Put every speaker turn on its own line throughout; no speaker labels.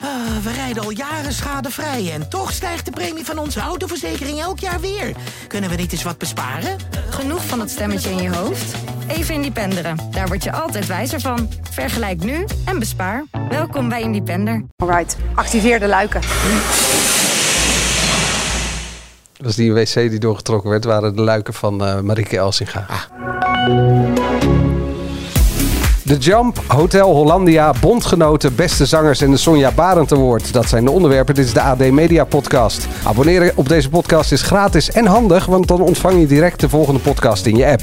Ah, we rijden al jaren schadevrij en toch stijgt de premie van onze autoverzekering elk jaar weer. Kunnen we niet eens wat besparen?
Genoeg van dat stemmetje in je hoofd? Even Independeren. Daar word je altijd wijzer van. Vergelijk nu en bespaar. Welkom bij Independer.
Alright, activeer de luiken.
Dat is die wc die doorgetrokken werd, waren de luiken van eh Marieke Elsinga. De Jump, Hotel Hollandia, Bondgenoten, Beste Zangers en de Sonja Barend Award. Dat zijn de onderwerpen. Dit is de AD Media Podcast. Abonneren op deze podcast is gratis en handig, want dan ontvang je direct de volgende podcast in je app.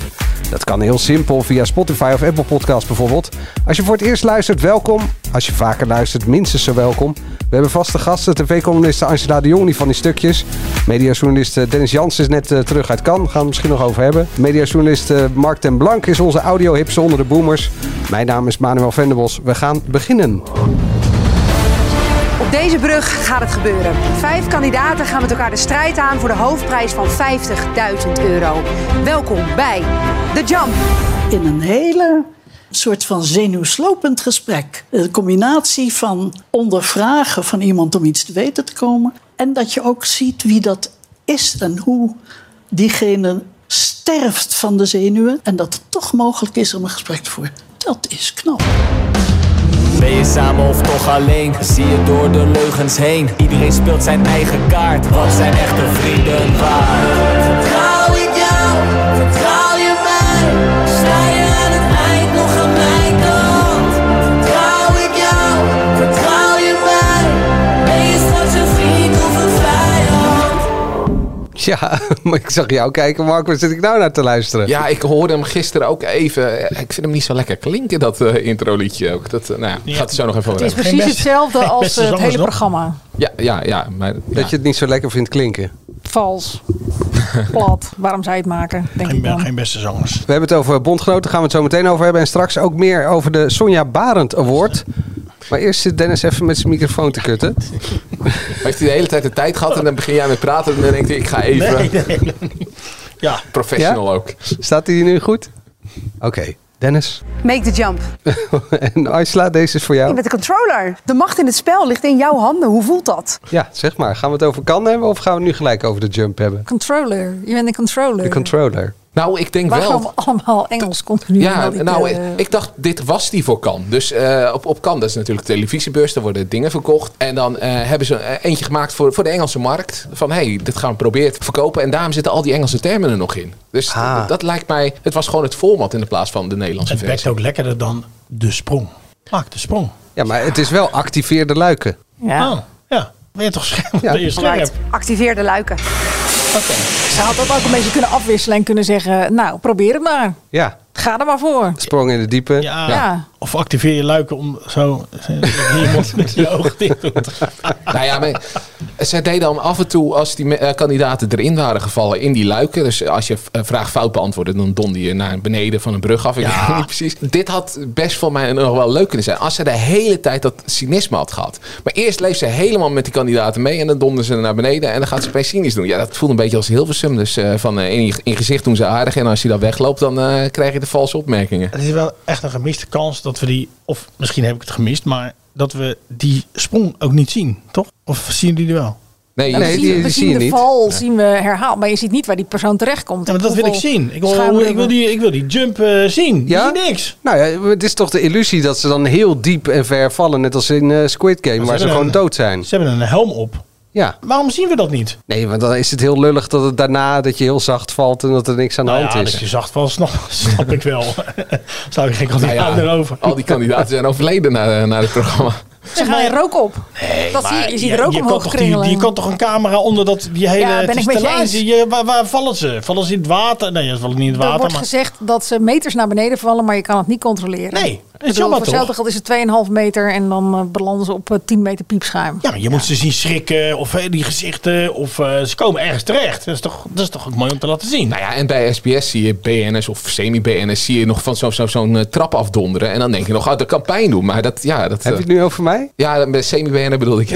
Dat kan heel simpel via Spotify of Apple Podcasts bijvoorbeeld. Als je voor het eerst luistert, welkom. Als je vaker luistert, minstens zo welkom. We hebben vaste gasten, tv-columniste Angela de Jong, die van die stukjes. Mediajournalist eh, Dennis Jans is net eh, terug uit Cannes, gaan we het misschien nog over hebben. Mediajournalist eh, Mark ten Blank is onze audiohipster onder de boomers. Mijn naam is Manuel Venderbos, we gaan beginnen.
Op deze brug gaat het gebeuren. Vijf kandidaten gaan met elkaar de strijd aan voor de hoofdprijs van 50.000 euro. Welkom bij The Jump.
in een hele soort van zenuwslopend gesprek. Een combinatie van ondervragen van iemand om iets te weten te komen. En dat je ook ziet wie dat is en hoe diegene sterft van de zenuwen. En dat het toch mogelijk is om een gesprek te voeren. Dat is knap.
Ben je samen of toch alleen? Zie je door de leugens heen? Iedereen speelt zijn eigen kaart. Wat zijn echte vrienden waard?
Vertrouw ik jou? Vertrouw je mij? Sta je aan het eind nog aan mijn kant? Vertrouw ik jou? Vertrouw je mij? Ben je straks een vriend of een vijand?
Ja, maar ik zag jou kijken, Mark, waar zit ik nou naar te luisteren?
Ja, ik hoorde hem gisteren ook even. Ik vind hem niet zo lekker klinken, dat eh intro-liedje ook. Dat, eh, nou ja, gaat het zo nog even over
Het is
hebben.
precies
beste-
hetzelfde
geen
als eh,
beste
het
zangers,
hele
hoor.
programma.
Ja, ja, ja. Maar,
Dat
ja.
je het niet zo lekker vindt klinken.
Vals. Plat. Waarom zou je het maken? Denk
Geen,
ik dan.
geen beste zangers.
We hebben het over bondgenoten, daar gaan we het zo meteen over hebben. En straks ook meer over de Sonja Barend Award. Maar eerst zit Dennis even met zijn microfoon te kutten.
Heeft hij de hele tijd de tijd gehad en dan begin jij met praten. En dan denkt hij, ik ga even.
Ja,
Professional ook.
Staat hij hier nu goed? Oké, Dennis.
Make the jump.
en Aisla, deze is voor
Je
jou.
bent de controller. De macht in het spel ligt in jouw handen. Hoe voelt dat?
Ja, zeg maar. Gaan we het over kan hebben of gaan we het nu gelijk over de jump hebben?
Controller. Je bent een controller.
De controller.
Nou, ik denk
Waarom
wel.
allemaal Engels continu?
Ja,
Al die,
nou,
eh,
ik, ik dacht, dit was die voor Kan. Dus eh, op, op Kan, dat is natuurlijk de televisiebeurs, daar worden dingen verkocht. En dan eh, hebben ze eh, eentje gemaakt voor, voor de Engelse markt. Van, hé, hey, dit gaan we proberen te verkopen. En daarom zitten al die Engelse termen er nog in. Dus
Ah.
dat, dat lijkt mij, het was gewoon het format in de plaats van de Nederlandse
het
versie.
werkt ook lekkerder dan de sprong. Maak de sprong.
Ja, maar het is wel activeer de luiken.
ja.
Ah, ja. Ben je toch scherp?
Ja.
Ben je scherp?
Alright, activeer de luiken.
Ze had dat ook een beetje kunnen afwisselen en kunnen zeggen... Nou, probeer het maar.
Ja,
Ga er maar voor.
Ah.
sprong in de diepe.
Ja.
Ja.
Of activeer je luiken om zo iemand met je ogen dicht te doen.
Nou ja, maar zij deden dan af en toe als die me- eh, kandidaten erin waren gevallen in die luiken. Dus als je v- een vraag fout beantwoordde, dan donde je naar beneden van een brug af. Ik
Ja.
weet niet precies. Dit had best voor mij nog wel leuk kunnen zijn. Als ze de hele tijd dat cynisme had gehad. Maar eerst leef ze helemaal met die kandidaten mee en dan donden ze naar beneden. En dan gaat ze bij cynisch doen. Ja, dat voelde een beetje als Hilversum. Dus eh, van eh, in, je- in gezicht doen ze aardig. En als je dan wegloopt, dan eh, krijg je de valse opmerkingen.
Het is wel echt een gemiste kans dat we die, of misschien heb ik het gemist, maar dat we die sprong ook niet zien, toch? Of zien jullie die wel?
Nee,
Ja,
Nee,
we zien,
die-
we
die
zien
zie je
de
niet.
val zien we herhaald, maar je ziet niet waar die persoon terechtkomt.
Ja, maar dat wil ik
Hoeveel
zien. Ik wil,
schaamlippen.
ik wil, die, ik wil die jump eh, zien.
Ja?
Ik zie niks.
Nou ja, het is toch de illusie dat ze dan heel diep en ver vallen. Net als in eh, Squid Game, waar ze
hebben
gewoon
een-
dood zijn.
Ze hebben een helm op.
Ja.
Waarom zien we dat niet?
Nee, want dan is het heel lullig dat het daarna dat je heel zacht valt en dat er niks aan de
Nou
hand
ja,
is.
dat je zacht wel snap, snap ik wel. Snap ik geen
Nou
kandidaat
ja,
erover.
al die kandidaten zijn overleden na, na het programma.
Ze gaan je rook op. dat zie je, je ziet rook
je kan,
omhoog
toch die,
kringelen.
je kan toch een camera onder dat, die hele
Ja, ben ik met je
installatie- Je, waar, waar vallen ze? Vallen ze in het water? Nee, ze vallen niet in het
er
water.
wordt
Maar,
gezegd dat ze meters naar beneden vallen, maar je kan het niet controleren.
Nee,
Ik
dat is
bedoel,
jammer
Voor
toch?
hetzelfde geld is het 2,5 meter en dan eh, belanden ze op eh, 10 meter piepschuim.
ja, maar je moet ze zien schrikken of eh, die gezichten. Of eh, ze komen ergens terecht. Dat is, toch, dat is toch ook mooi om te laten zien.
Nou ja, en bij SBS zie je BN'ers of semi-BN'ers zie je nog van zo'n zo, zo'n eh, trap afdonderen. En dan denk je nog, oh, dat kan pijn doen. Maar dat, ja,
Heb
dat...
je
eh,
het nu over mij?
ja, met semi-BN'er bedoel ik.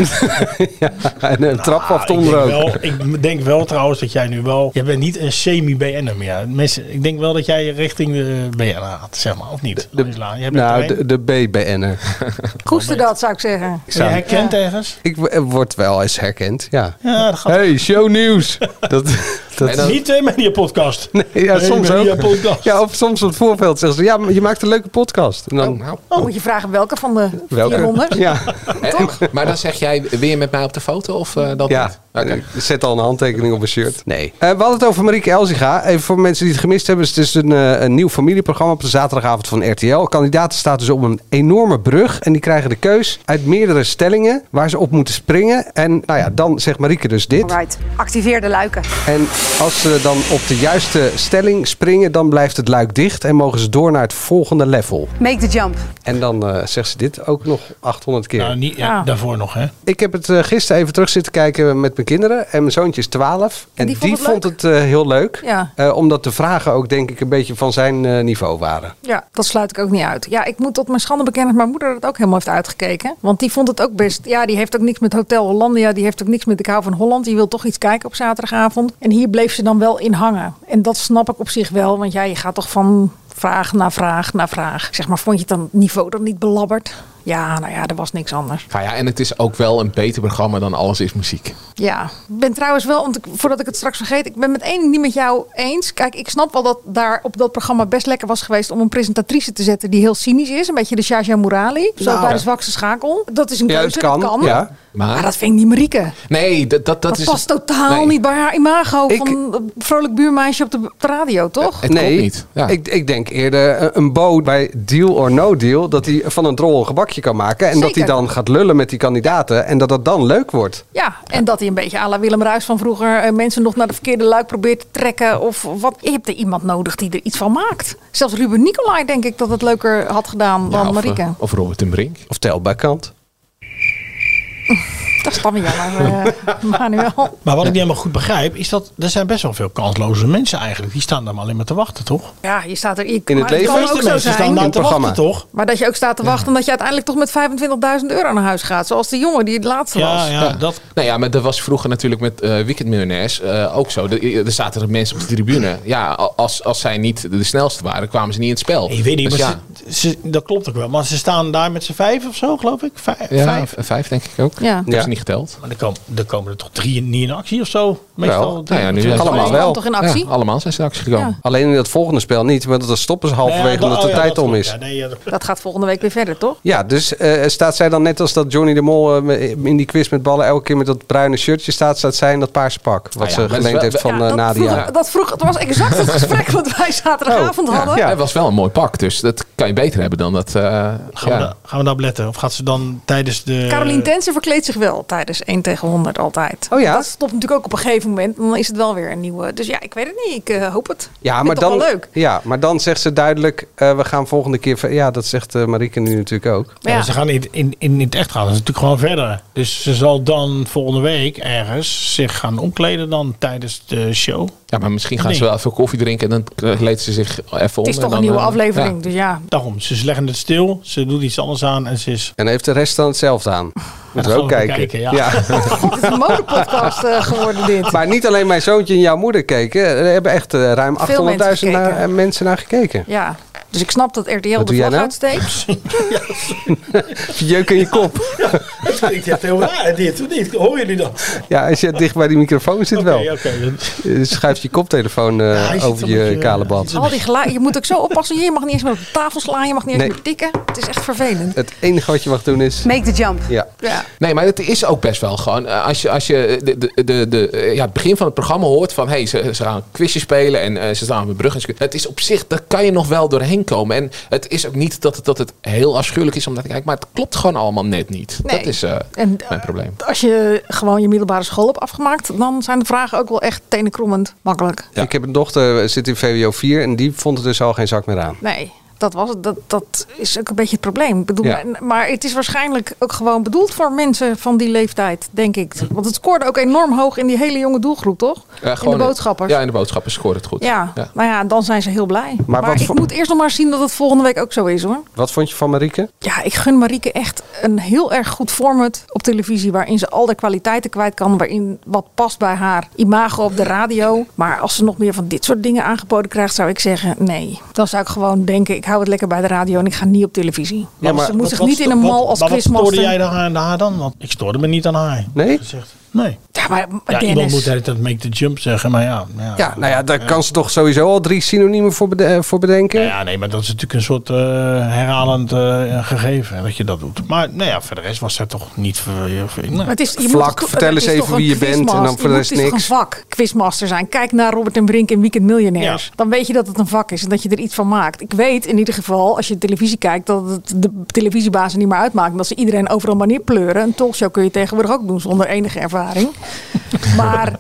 ja, en een trap
Ah,
af
ik, denk
ook.
wel, ik denk wel trouwens dat jij nu wel... Je bent niet een semi-BN'er meer. Mensen, ik denk wel dat jij richting de BN gaat, zeg maar. Of niet? Ladisla? je hebt
nou, Ja,
doorheen.
de, de BBN'er.
Koester dat, zou ik zeggen.
Ik,
Ben
zou-
je herkend ergens?
ik w- eh, word wel eens herkend, ja.
Ja, dat gaat
Hey, shownieuws! dat, dat,
dan-
niet de media podcast.
nee, ja,
Nee,
soms
media
ook.
podcast.
Ja, of soms op het voorveld zeggen ze, ja, maar je maakt een leuke podcast. En dan,
Oh, nou.
Oh, moet je vragen welke van de
welke?
400?
Ja,
Eh, Maar dan zeg jij, wil je met mij op de foto of eh, dat
ja.
niet? Oké.
Ik Zet al een handtekening op mijn shirt. Nee. we hadden het over Marieke Elziga. Even voor mensen die het gemist hebben. Het is een, eh, een nieuw familieprogramma op de zaterdagavond van RTL. Kandidaten staan dus op een enorme brug. En die krijgen de keus uit meerdere stellingen waar ze op moeten springen. En nou ja, dan zegt Marieke dus dit.
Alright, activeer de luiken.
En als ze dan op de juiste stelling springen, dan blijft het luik dicht en mogen ze door naar het volgende level.
Make the jump.
En dan eh, zegt ze dit ook nog 800 keer.
Nou, niet ja,
Ah.
daarvoor nog, hè?
Ik heb het eh, gisteren even terug zitten kijken met mijn kinderen. En mijn zoontje is 12. En die
die
vond
vond
het,
het
eh, heel leuk.
Ja.
Eh, omdat de vragen ook denk ik een beetje van zijn eh, niveau waren.
Ja, dat sluit ik ook niet uit. Ja, ik moet tot mijn schande bekennen dat mijn moeder dat ook helemaal heeft uitgekeken. Want die vond het ook best. Ja, die heeft ook niks met Hotel Hollandia. Die heeft ook niks met Ik hou van Holland. Die wil toch iets kijken op zaterdagavond. En hier bleef ze dan wel in hangen. En dat snap ik op zich wel. Want ja, je gaat toch van vraag naar vraag naar vraag. Ik Zeg maar, vond je het dan het niveau dan niet belabberd? Ja, nou ja, er was niks anders.
Nou ja, en het is ook wel een beter programma dan Alles is Muziek.
Ja, ik ben trouwens wel, want ik- voordat ik het straks vergeet, ik ben met één ding niet met jou eens. Kijk, ik snap wel dat daar op dat programma best lekker was geweest om een presentatrice te zetten die heel cynisch is. Een beetje de Shaja Murali, zo bij de zwakste schakel. Dat is een
Ja,
keuze,
het kan,
dat kan.
ja.
Maar
Maar,
dat vind ik niet Marieke. Dat,
nee, dat, dat, dat, is...
past totaal
nee.
niet bij haar imago
Ik- Eh,
van eh, vrolijk buurmeisje op de b- radio, toch?
Het
nee,
klopt niet. Ja.
Ik, ik denk eerder eh, een bo bij Deal or No Deal. Dat hij van een drol een gebakje kan maken. En dat hij
Zeker.
dan gaat lullen met die kandidaten. En dat dat dan leuk wordt.
Ja, en dat hij een beetje à la Willem Ruijs van vroeger eh, mensen nog naar de verkeerde luik probeert te trekken. Of wat. Je hebt er iemand nodig die er iets van maakt. Zelfs Ruben Nicolai denk ik dat het leuker had gedaan
Ja,
dan
of,
Marieke.
eh, Of Robert en Brink.
Of telbaar kant.
Dat is dan weer jammer, eh, Manuel.
Maar wat ik niet helemaal goed begrijp, is dat er zijn best wel veel kansloze mensen eigenlijk. Die staan daar maar alleen maar te wachten, toch?
Ja, je staat er... Je,
In het
maar
leven
kan
is
de
ook zo
mensen staan
zijn.
daar
In
te
programma.
wachten, toch?
Maar dat je ook staat te wachten en dat je uiteindelijk toch met 25.000 euro naar huis gaat. Zoals de jongen die het laatste
Ja,
was.
ja, dat...
Nou ja, maar dat was vroeger natuurlijk met eh Weekend Miljonairs eh, ook zo. Er, er zaten er mensen op de tribune. Ja, als, als zij niet de snelste waren, kwamen ze niet in het spel.
Ik weet niet,
Dus
maar
ja,
ze, ze- dat klopt ook wel. Maar ze staan daar met z'n vijf of zo, geloof ik. Vijf.
ja,
vijf.
vijf. denk ik ook.
Ja.
Ik heb
Ja.
ze niet geteld.
Maar er komen, er komen er toch drie niet in actie of zo? Meestal
Wel,
drie.
nou ja, nu
Twee.
zijn ze
Allemaal
Allemaal
wel.
toch in actie?
Ja, allemaal zijn ze in actie gekomen.
Alleen in dat volgende spel niet. Want dat stoppen ze
Nou ja,
halverwege
dat-
omdat
oh
de
ja,
tijd
dat
om
klopt.
is.
Ja, nee, ja, dat-
Dat gaat volgende week weer verder, toch?
Ja, dus eh, staat zij dan net als dat Johnny de Mol eh, in die quiz met ballen elke keer met dat bruine shirtje staat, staat zij in dat paarse pak. Wat
Ah ja,
ze
maar dat is
geleend
wel-
heeft van
Ja,
eh,
dat,
Nadia.
Vroeg, dat vroeg, het was exact het gesprek wat wij zaterdagavond
Oh, ja.
hadden.
Ja, het was wel een mooi pak, dus dat kan je beter hebben dan dat. eh,
Gaan,
ja.
we daar, gaan we daar op letten? Of gaat ze dan tijdens de...
Caroline Tensen verkleedt zich wel tijdens 1 tegen 100 altijd.
Oh ja?
Dat stopt natuurlijk ook op een gegeven moment. Dan is het wel weer een nieuwe. Dus ja, ik weet het niet. Ik eh, hoop het. Ik
Ja
vind
maar,
het toch
dan,
wel leuk.
ja, maar dan zegt ze duidelijk, eh, we gaan volgende keer... ver- Ja, dat zegt eh, Marieke nu natuurlijk ook.
Ja,
Ja.
maar Ze gaan in, in, in het echt gaan. Ze natuurlijk gewoon verder. Dus ze zal dan volgende week ergens zich gaan omkleden dan tijdens de show.
ja, maar misschien gaan
Nee.
ze wel even koffie drinken en dan kleedt ze zich even om.
Het is toch
en dan,
een nieuwe
eh,
aflevering.
ja.
Dus ja,
Daarom, ze leggen het stil. Ze doet iets anders aan en ze is...
En heeft de rest dan hetzelfde aan. Moeten we
gaan
ook
we
kijken.
bekijken, ja.
God, het is een modepodcast eh, geworden dit.
Maar niet alleen mijn zoontje en jouw moeder keken. Er hebben echt eh, ruim 800.000
Veel mensen gekeken.
naar- eh, mensen naar gekeken.
Ja, dus ik snap dat RTL
Wat
de
doe
vlag
jij nou?
uitsteekt.
Jeuk in je kop.
Ik heb heel raar dit, niet? Hoor jullie dat?
Ja, als je dicht bij die microfoon zit wel.
Oké, oké.
Eh, Schuift je koptelefoon eh,
hij zit
over
op het,
je
eh,
kale band.
Al die geluiden. Je moet ook zo oppassen. Je mag niet eens meer op de tafel slaan. Je mag niet eens
Nee. Eh,
meer tikken. Het is echt vervelend.
Het enige wat je mag doen is.
Make the jump.
Ja.
Ja.
Nee, maar het is ook best wel gewoon. eh, Als je, als je de, de, de, de, eh, ja, het begin van het programma hoort van. hey, ze, ze gaan een quizje spelen en eh, ze staan op een brug. En ze, het is op zich, daar kan je nog wel doorheen komen. En het is ook niet dat het, dat het heel afschuwelijk is om naar te kijken. Maar het klopt gewoon allemaal net niet.
Nee.
Dat is eh,
En eh,
mijn probleem.
als je gewoon je middelbare school hebt afgemaakt, dan zijn de vragen ook wel echt tenenkrommend makkelijk.
Ik heb een dochter, eh, zit in VWO 4 en die vond er dus al geen zak meer aan.
Nee, dat, was, het. dat, dat is ook een beetje het probleem. Ik bedoel,
Ja.
en- Maar het is waarschijnlijk ook gewoon bedoeld voor mensen van die leeftijd, denk ik. Want het scoorde ook enorm hoog in die hele jonge doelgroep, toch?
Eh,
in
gewoon-
de boodschappers.
Ja, in de boodschappers scoort het goed.
Ja,
Ja.
nou ja, dan zijn ze heel blij. Maar,
wat
ik
voor-
moet eerst nog maar zien dat het volgende week ook zo is hoor.
Wat vond je van Marieke?
Ja, ik gun Marieke echt een heel erg goed format op televisie. Waarin ze al de kwaliteiten kwijt kan. Waarin wat past bij haar imago op de radio. Maar als ze nog meer van dit soort dingen aangeboden krijgt, zou ik zeggen nee. Dan zou ik gewoon denken, ik hou het lekker bij de radio en ik ga niet op televisie.
Ja, maar
dus ze moet
Wat-
zich
wat
niet
sto-
in een
wat-
mal als
maar wat stoorde jij
quizmaster.
dan aan haar dan? Want ik stoorde me niet aan haar.
Nee?
Ze zegt, nee.
Ja, maar
Ja, iemand
Dennis.
moet de hele tijd make the jump zeggen, maar ja. Ja,
Ja, nou ja, daar kan ze toch sowieso al drie synoniemen voor, bede- eh, voor bedenken.
Nou ja, nee, maar dat is natuurlijk een soort eh, herhalend eh, gegeven hè, dat je dat doet. Maar nou ja, voor de rest was zij toch niet... ver- ver- nou.
Maar het is, je
Vlak,
toch-
vertel
het
eens
is
even
toch
wie je
een
bent en
quizmaster.
dan voor de
Je
rest
moet- Het
niks.
is toch een vak, quizmaster zijn. Kijk naar Robert en Brink in Weekend Miljonairs.
Ja.
Dan weet je dat het een vak is en dat je er iets van maakt. Ik weet in ieder geval, als je televisie kijkt, dat het de televisiebazen niet meer uitmaakt. Dat ze iedereen overal maar neerpleuren. Een talkshow kun je tegenwoordig ook doen zonder enige ervaring. maar...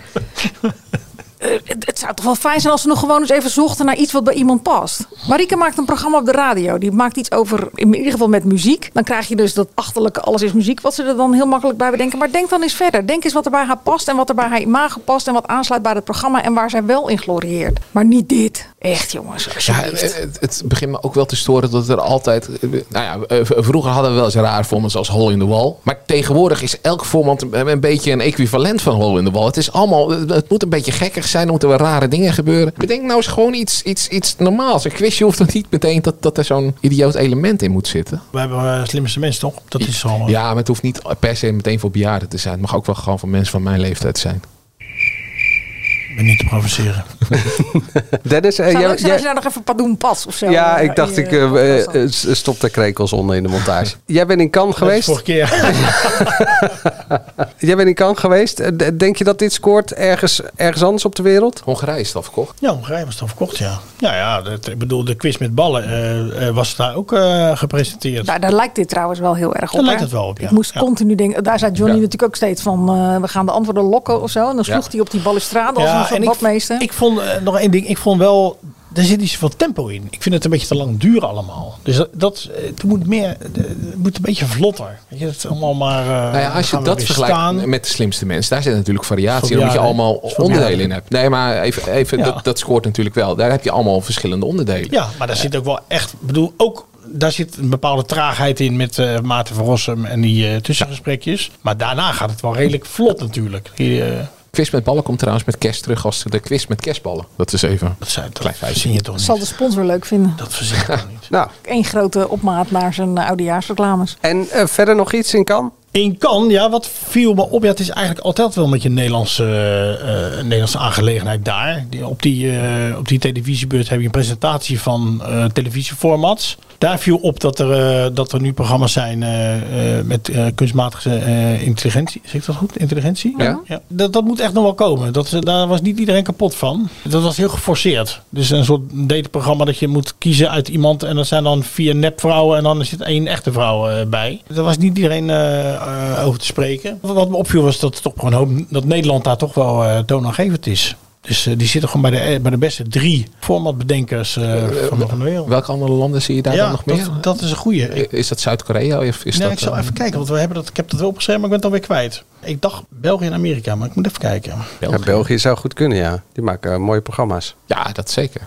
eh, het, het zou toch wel fijn zijn als ze nog gewoon eens even zochten naar iets wat bij iemand past. Marike maakt een programma op de radio. Die maakt iets over, in ieder geval met muziek. Dan krijg je dus dat achterlijke alles is muziek, wat ze er dan heel makkelijk bij bedenken. Maar denk dan eens verder. Denk eens wat er bij haar past en wat er bij haar imago past. En wat aansluit bij het programma en waar zij wel in glorieert. Maar niet dit. Echt jongens,
Ja,
alsjeblieft.
het, het begint me ook wel te storen dat er altijd. eh, Nou ja, eh, v- vroeger hadden we wel eens raar formats als Hole in the Wall. Maar tegenwoordig is elk format een, een beetje een equivalent van Hole in the Wall. Het is allemaal. Het moet een beetje gekkig zijn. Er moeten wel rare dingen gebeuren. Bedenk nou eens gewoon iets, iets, iets normaals. Een quizje hoeft toch niet meteen dat, dat er zo'n idioot element in moet zitten.
We hebben eh, slimste mensen, toch? Dat is al...
Ja, maar het hoeft niet per se meteen voor bejaarden te zijn. Het mag ook wel gewoon voor mensen van mijn leeftijd zijn.
Ik ben niet te provoceren.
Dennis, eh,
Het zou
jij-
leuk zijn
jij-
als je daar nog even Padoen Pas of zo.
ja,
eh,
ik dacht,
in
ik
je podcast had.
eh, eh, s- stop de krekels onder in de montage. jij bent in Cannes
Dat
geweest.
is vorige keer.
Jij bent in Cannes geweest. Eh, d- Denk je dat dit scoort ergens, ergens anders op de wereld?
Hongarije is het afgekocht.
Ja, Hongarije was dan verkocht, ja. Ja, ja, dat, ik bedoel, de quiz met ballen eh, eh, was daar ook eh, gepresenteerd.
Daar, daar lijkt dit trouwens wel heel erg op.
Daar
hè?
lijkt het wel op, ja.
Ik moest
Ja.
continu denken. Daar zei Johnny
Ja.
natuurlijk ook steeds van. eh, we gaan de antwoorden lokken of zo. En dan sloeg
Ja.
hij op die balustrade als een soort
en ik,
badmeester.
ik vond eh, nog één ding. Ik vond wel, er zit iets van tempo in. Ik vind het een beetje te lang duren allemaal. Dus dat, dat eh, het moet meer, eh, het moet een beetje vlotter. Weet je, dat is allemaal maar. eh,
Nou ja, als je
gaan we
dat
weer
vergelijkt
staan.
met de slimste mensen, daar zit natuurlijk variatie in,
Voor
omdat je
bejaarden.
allemaal
Voor
onderdelen in hebt. Nee, maar even, even
Ja.
dat, dat scoort natuurlijk wel. Daar heb je allemaal verschillende onderdelen.
Ja, maar daar zit ook wel echt, ik bedoel, ook daar zit een bepaalde traagheid in met eh, Maarten van Rossum en die eh, tussengesprekjes. Maar daarna gaat het wel redelijk vlot natuurlijk. Die, eh,
Quiz met ballen komt trouwens met kerst terug als de quiz met kerstballen. Dat is even.
dat zijn dat
Klein feitje.
verzin je toch
Zal de
niet.
sponsor leuk vinden.
Dat verzin je toch niet.
Nou,
Eén grote opmaat naar zijn eh, oudejaarsreclames.
en eh, verder nog iets in Cannes?
In kan, ja, wat viel me op. Ja, het is eigenlijk altijd wel met je Nederlandse, eh, eh, Nederlandse aangelegenheid daar. Die, op, die, eh, op die televisiebeurt heb je een presentatie van eh, televisieformats. Daar viel op dat er, eh, dat er nu programma's zijn eh, eh, met eh, kunstmatige eh, intelligentie. Zeg ik dat goed? Intelligentie?
Ja.
dat, dat moet echt nog wel komen. Dat, daar was niet iedereen kapot van. Dat was heel geforceerd. Dus een soort dateprogramma dat je moet kiezen uit iemand. En dat zijn dan vier nepvrouwen en dan zit één echte vrouw eh, bij. Daar was niet iedereen eh, eh, over te spreken. Wat, wat me opviel was dat, het toch gewoon, hoop- dat Nederland daar toch wel eh toonaangevend is. Dus eh, die zitten gewoon bij de, eh, bij de beste drie formatbedenkers eh, van, van de wereld.
Welke andere landen zie je daar dan nog meer?
dat, dat is een goeie. Ik-
Is dat Zuid-Korea? Of is
nee,
dat,
ik zal
eh,
even kijken, want we hebben dat, ik heb dat wel opgeschreven, maar ik ben het alweer kwijt. Ik dacht België en Amerika, maar ik moet even kijken.
Ja,
België?
België zou goed kunnen, ja. Die maken eh, mooie programma's.
Ja, dat zeker.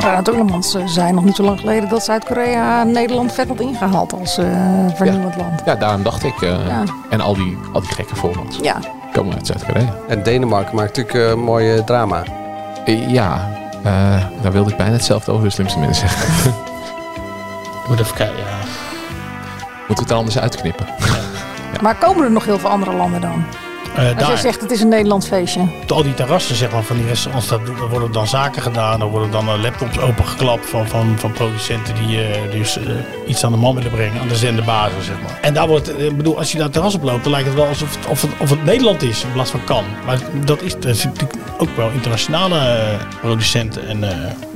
Renat Oelemans eh, zei nog niet zo lang geleden dat Zuid-Korea Nederland vet had ingehaald als eh vernieuwend land.
Ja, daarom dacht ik. eh,
Ja.
En al die, al die gekke formats
Ja,
komen uit Zuid-Korea.
En Denemarken maakt natuurlijk eh mooie drama.
Eh, ja, eh, daar wilde ik bijna hetzelfde over de slimste mensen zeggen.
Ik moet even kijken. Ja.
Moeten we het er anders uitknippen?
maar komen er nog heel veel andere landen dan?
Eh,
Als jij
daar,
zegt het is een Nederlands feestje.
op al die terrassen zeg maar, van die restaurants, daar doen- daar worden dan zaken gedaan. Er worden dan eh, laptops opengeklapt van, van, van producenten die eh, dus, eh, iets aan de man willen brengen. Aan de zenderbazen, zeg maar. En daar wordt, eh, ik bedoel, als je naar het terras oploopt, dan lijkt het wel alsof het, of het, of het Nederland is in plaats van kan. Maar dat is, dat is natuurlijk ook wel internationale eh, producenten. En eh,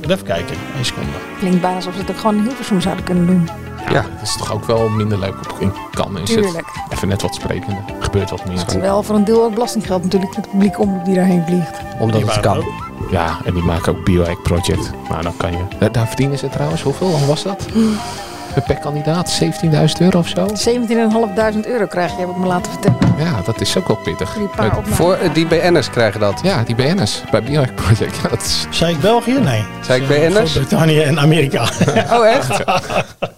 even kijken, één seconde.
Klinkt bijna alsof ze het ook gewoon in Hilversum zouden kunnen doen.
Ja, dat is toch ook wel minder leuk op in kan en zit.
Tuurlijk.
Even net wat sprekende. Er gebeurt wat meer.
Terwijl voor een deel ook belastinggeld natuurlijk het publiek omroep die daarheen vliegt.
Omdat
Die
het
waren
kan.
ook.
Ja, en die maken ook Biohack Project. Nou, dan kan je. Daar, daar verdienen ze trouwens hoeveel? Hoe was dat? per kandidaat 17.000 euro of zo.
17.500 euro krijg je, heb ik me laten vertellen.
Ja, dat is ook wel pittig.
Die paar opnames.
Voor eh, die BN'ers krijgen dat.
Ja, die BN'ers bij Bierwerk Project. Ja, dat is...
Zei ik België? Nee.
Zei ik BN'ers?
Groot-Brittannië en Amerika.
Oh, echt?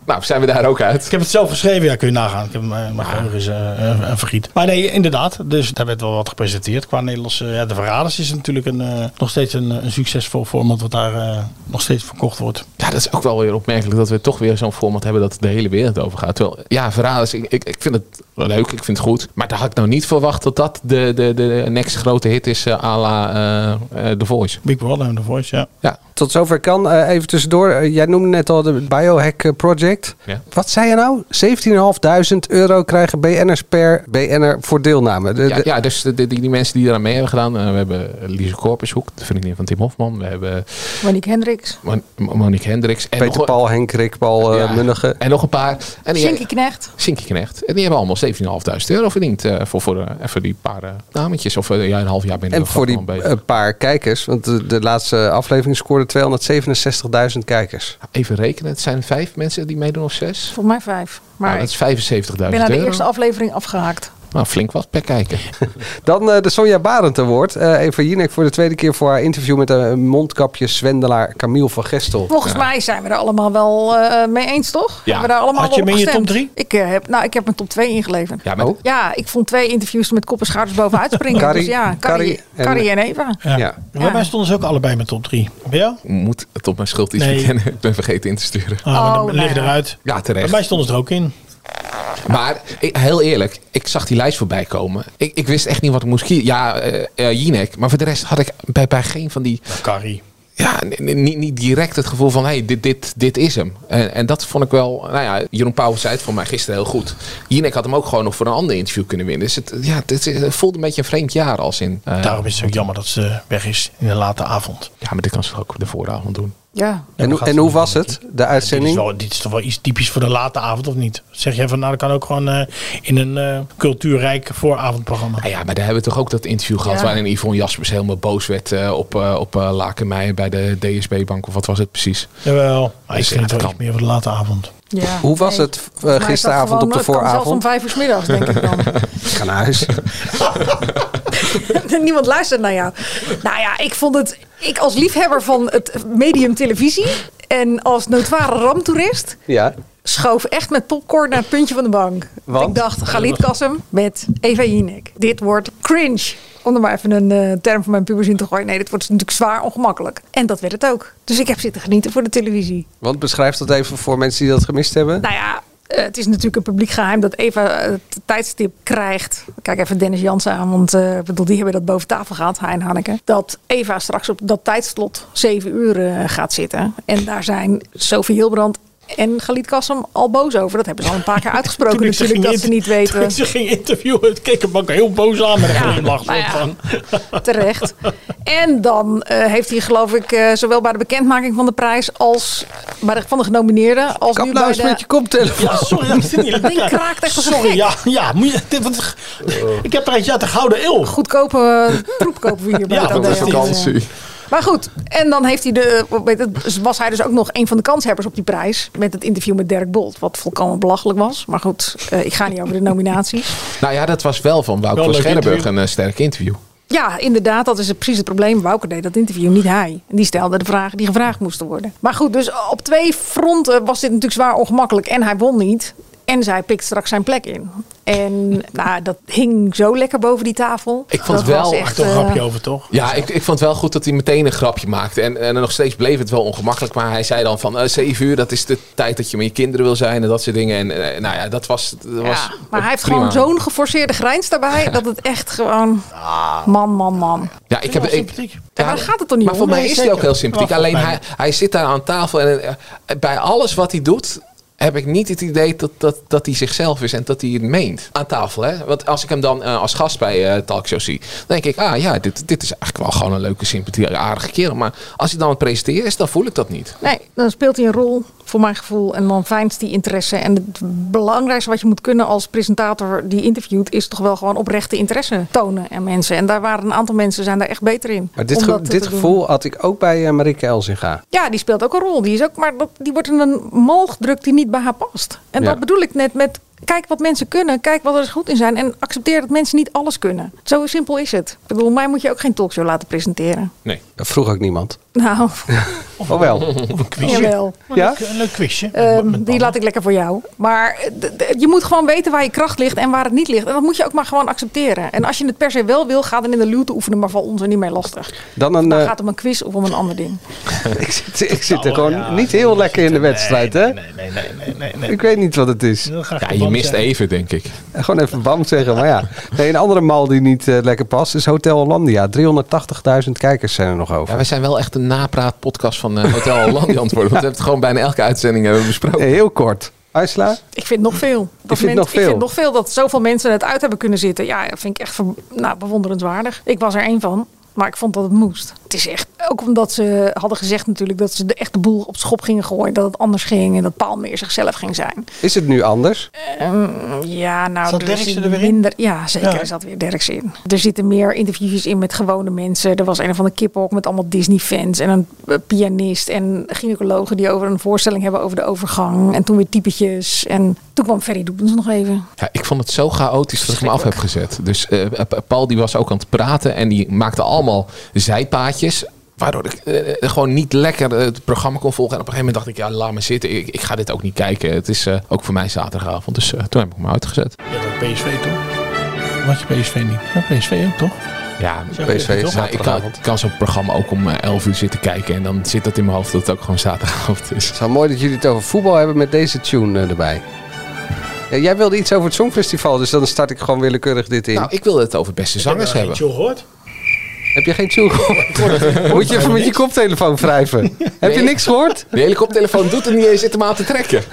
Nou, zijn we daar ook uit. Ah.
ik heb het zelf geschreven, ja, kun je nagaan. Ik heb mijn mijn geheugen is eh, eh, een vergiet. Maar nee, inderdaad. Dus daar werd wel wat gepresenteerd qua Nederlandse. Ja, de Verraders is natuurlijk een, eh, nog steeds een, eh, een succesvol format wat daar eh, nog steeds verkocht wordt.
Ja, dat is ook wel weer opmerkelijk dat we toch weer zo'n format hebben dat de hele wereld over gaat. Terwijl, ja, verraders, ik, ik, ik vind het wel leuk, ik vind het goed. Maar daar had ik nou niet verwacht dat dat de, de, de next grote hit is eh, à la eh, eh, The Voice.
Big Brother en The Voice, ja.
Ja,
Tot zover kan. Eh, even tussendoor. Eh, jij noemde net al de Biohack eh, Project.
Ja.
Wat zei je nou? 17.500 euro krijgen BN'ers per BN'er voor deelname. De-
ja,
de-
ja dus de- de- die, die mensen die eraan mee hebben gedaan. eh, we hebben Lise Korpershoek, de vriendin van Tim Hofman. We hebben
Monique Hendricks,
Mon- Monique Hendricks. En
Peter
nog-
Paul, Henk Rikpal, eh
ja,
Munnige.
En nog een paar. En die-
Shinky Knecht.
Sinky Knecht. En die hebben allemaal 17.500 euro verdiend eh, voor, voor, eh, voor die paar eh, nametjes. Of eh, ja, een half jaar ben ik
En
nog
voor die
gewoon bezig.
eh, paar kijkers. Want de, de laatste aflevering scoorde 267.000 kijkers.
Even rekenen, het zijn vijf mensen die meedoen of zes?
Volgens mij vijf. Maar
nou, dat
ik
is 75.000
ben naar de
euro.
eerste aflevering afgehaakt.
Nou, flink wat per kijken.
Dan eh, de Sonja Barend Award. Eh Eva Jinek voor de tweede keer voor haar interview met de mondkapje zwendelaar Camille van Gestel.
Volgens mij zijn we er allemaal wel eh, mee eens, toch?
Ja.
Hebben we daar allemaal
Had je
wel op
hem in je
gestemd?
top drie?
Ik, eh, heb, nou, ik heb mijn top 2 ingeleverd.
Ja, maar
Oh.
Ja, ik vond twee interviews met kop en schouders bovenuit springen.
Carrie-
dus ja,
Carrie
Carrie,
en-
Carrie en Eva.
ja.
Ja.
Bij mij stonden ze ook allebei met top 3. Bij jou?
ik moet het op mijn schuld iets
Nee.
bekennen. Ik ben vergeten in te sturen.
Ah, maar dan
Oh,
lig
nou ja.
eruit.
Ja,
Bij
terecht.
mij stonden ze er ook in.
Maar ik- heel eerlijk, ik zag die lijst voorbij komen. Ik, ik wist echt niet wat ik moest kiezen. Ja, eh, eh, Jinek. Maar voor de rest had ik bij, bij geen van die...
Carrie.
Ja, n- n- niet, niet direct het gevoel van... hey, dit, dit, dit is hem. En, en dat vond ik wel... Nou ja, Jeroen Pauw zei het voor mij gisteren heel goed. Jinek had hem ook gewoon nog voor een ander interview kunnen winnen. Dus het, ja, het, is- het voelde een beetje een vreemd jaar als in... eh,
Daarom is het ook jammer dat ze weg is in de late avond.
ja, maar dit kan ze toch ook de vooravond doen.
Ja.
En, hoe- en hoe was het, de
Dit is,
uitzending?
wel, dit is toch wel iets typisch voor de late avond, of niet? Zeg jij van, nou, dat kan ook gewoon eh, in een eh, cultuurrijk vooravondprogramma.
Nou ja, maar daar hebben we toch ook dat interview gehad
Ja.
waarin Yvonne Jaspers helemaal boos werd eh, op, eh op eh, Lakenmeijer bij de DSB-bank of wat was het precies?
Jawel, maar ik
Dus ja,
vind het
dat
wel
kan.
iets meer voor de late avond.
ja.
Hoe was
Nee.
het eh,
Maar ik dacht
gisteravond
gewoon,
op de
het kan Zelfs om
vooravond?
vijf uur 's middags, denk ik dan.
Ga naar huis.
Niemand luistert naar jou. Nou ja, ik vond het. Ik als liefhebber van het medium televisie. En als notoire ramtoerist
Ja.
schoof echt met popcorn naar het puntje van de bank.
Want?
Ik dacht, Galit Kassem met Eva Jinek. Dit wordt cringe. Om er maar even een eh, term van mijn pubers in te gooien. Nee, dit wordt natuurlijk zwaar ongemakkelijk. En dat werd het ook. Dus ik heb zitten genieten voor de televisie.
Want beschrijf dat even voor mensen die dat gemist hebben.
Nou ja, eh, het is natuurlijk een publiek geheim dat Eva eh, het tijdstip krijgt. Ik Kijk even Dennis Jansen aan, want eh, ik bedoel, die hebben dat boven tafel gehad, hij en Hanneke. Dat Eva straks op dat tijdslot zeven uur eh, gaat zitten. En daar zijn Sophie Hilbrand en Galit Kassem al boos over. Dat hebben ze al een paar keer uitgesproken
ik ze
natuurlijk,
ging
dat ze
inter-
niet weten.
Toen ik ze ging interviewen, keek hem ook heel boos aan met een glimlach.
nou ja.
Van,
terecht. En dan eh, heeft hij geloof ik eh, zowel bij de bekendmaking van de prijs als bij de, van de genomineerden als
Kap
nu
nou
bij
eens
de...
met je koptelefoon.
Ja, sorry dat ik het niet lekker
ding kraakt echt als een
Sorry,
gek.
ja, ja. Moet je, dit, wat, ik heb er eentje uit de Gouden Eeuw.
goedkope eh, troep kopen we hier bij
Ja,
het
dat
AD.
is vakantie.
Maar goed, en dan heeft hij de, eh, weet het, was hij dus ook nog een van de kanshebbers op die prijs. Met het interview met Dirk Bolt. Wat volkomen belachelijk was. Maar goed, eh, ik ga niet over de nominaties.
Nou ja, dat was wel van Wouter
Wel
van
een leuk
Scherrenburg een
interview.
eh, sterk interview.
Ja, inderdaad, dat is het- precies het probleem. Wouter deed dat interview, niet hij. En die stelde de vragen die gevraagd moesten worden. Maar goed, dus op twee fronten was dit natuurlijk zwaar ongemakkelijk. En hij won niet. En zij pikt straks zijn plek in. En nou, dat hing zo lekker boven die tafel.
Ik vond
dat
wel
was
Echt
echt
een
eh,
grapje over, toch?
Ja, ik, ik vond het wel goed dat hij meteen een grapje maakte. En, en nog steeds bleef het wel ongemakkelijk. Maar hij zei dan van eh 7 uur, dat is de tijd dat je met je kinderen wil zijn en dat soort dingen. En eh, nou ja, dat was. Dat was
ja, maar hij heeft
prima.
gewoon zo'n geforceerde grijns daarbij dat het echt gewoon. Man, man, man.
Ah. Ja, ik heb.
Wel
Ik,
sympathiek.
Ja, maar daar gaat het toch niet
Maar
om?
voor mij
Nee,
is hij
zeker.
ook heel sympathiek.
Maar
Alleen
volgens
hij, hij zit daar aan tafel en eh, bij alles wat hij doet. Heb ik niet het idee dat, dat, dat hij zichzelf is en dat hij het meent aan tafel. Hè? Want als ik hem dan eh, als gast bij eh Talkshow zie, dan denk ik, ah ja, dit, dit is eigenlijk wel gewoon een leuke, sympathie, aardige kerel. Maar als hij dan het presenteert is, dan voel ik dat niet.
Nee, dan speelt hij een rol voor mijn gevoel. En dan fijnst die interesse. En het belangrijkste wat je moet kunnen als presentator die interviewt, is toch wel gewoon oprechte interesse tonen aan mensen. En daar waren een aantal mensen zijn daar echt beter in.
Maar dit,
om
ge-
dat te
dit
doen.
gevoel had ik ook bij eh, Marike Elzinga.
Ja, die speelt ook een rol. Die, is ook, maar dat, die wordt in een mal gedrukt die niet bij haar past. En
Ja.
dat bedoel ik net met... Kijk wat mensen kunnen, kijk wat er goed in zijn. En accepteer dat mensen niet alles kunnen. Zo simpel is het. Ik bedoel, mij moet je ook geen talkshow laten presenteren.
Nee.
Dat vroeg ook niemand.
Nou,
Oh wel.
Of een quizje.
jawel.
Ja?
Een leuk quizje.
Ehm,
Met- met
die
mannen.
laat ik lekker voor jou. Maar eh, d- d- je moet gewoon weten waar je kracht ligt en waar het niet ligt. En dat moet je ook maar gewoon accepteren. En als je het per se wel wil, ga dan in de luwte oefenen. Maar val ons er niet mee lastig.
Dan een,
Dan
eh,
Nou, gaat het om een quiz of om een ander ding.
ik zit, ik zit er
Nou,
gewoon
ja,
niet heel
nee,
lekker in de
nee,
wedstrijd, hè?
Nee, nee, nee, nee, nee. nee.
Ik weet niet wat het is. Eh,
Dat ga ik
Ja,
gewoon
je mist
zeggen.
even, denk ik.
Gewoon even bam zeggen, maar ja. Nee, een andere mal die niet eh, lekker past is Hotel Hollandia. 380.000 kijkers zijn er nog over.
Ja, we zijn wel echt een napraatpodcast van eh, Hotel Hollandia antwoorden. Want we hebben het gewoon bijna elke uitzending hebben we besproken.
Nee, Eh, heel kort. Aisla?
Ik vind nog veel. Dat
vindt nog
Ik
veel?
vind nog veel dat zoveel mensen het uit hebben kunnen zitten. Ja, dat vind ik echt ver- nou, bewonderenswaardig. Ik was er één van. Maar ik vond dat het moest. Het is echt, ook omdat ze hadden gezegd natuurlijk dat ze de echte boel op schop gingen gooien. Dat het anders ging en dat Paalmeer zichzelf ging zijn.
Is het nu anders?
Ja, nou,
Zat
er
Derksen
zitten
er weer in?
minder, Ja, zeker
Ja.
er zat weer Derks in. Er zitten meer interviews in met gewone mensen. Er was een van de kiphok met allemaal Disney-fans en een eh, pianist en gynaecologen die over een voorstelling hebben over de overgang. En toen weer typetjes. En toen kwam Ferry Doepens nog even.
Ja, ik vond het zo chaotisch dat ik me af heb gezet. Dus eh, Pa- Paul die was ook aan het praten en die maakte allemaal zijpaadjes. Waardoor ik eh, gewoon niet lekker eh, het programma kon volgen. En op een gegeven moment dacht ik, ja, laat me zitten. Ik, ik ga dit ook niet kijken. Het is eh, ook voor mij zaterdagavond. Dus eh, toen heb ik me uitgezet.
Ja, dat PSV toch? Wat je PSV niet? Ja, PSV ook toch?
Ja,
Zo
PSV
is het,
is
toch?
maar ik kan,
zaterdagavond.
ik kan zo'n programma ook om eh, 11 uur zitten kijken. En dan zit dat in mijn hoofd dat het ook gewoon zaterdagavond is.
Het is wel mooi dat jullie het over voetbal hebben met deze tune eh, erbij. Ja, jij wilde iets over het Songfestival, dus dan start ik gewoon willekeurig dit in.
Nou, ik wilde het over beste zangers
je
hebben.
gehoord?
Heb je geen tune gehoord? Moet je even met je koptelefoon wrijven? Heb je niks gehoord?
De hele koptelefoon doet er niet eens, zit hem aan te trekken.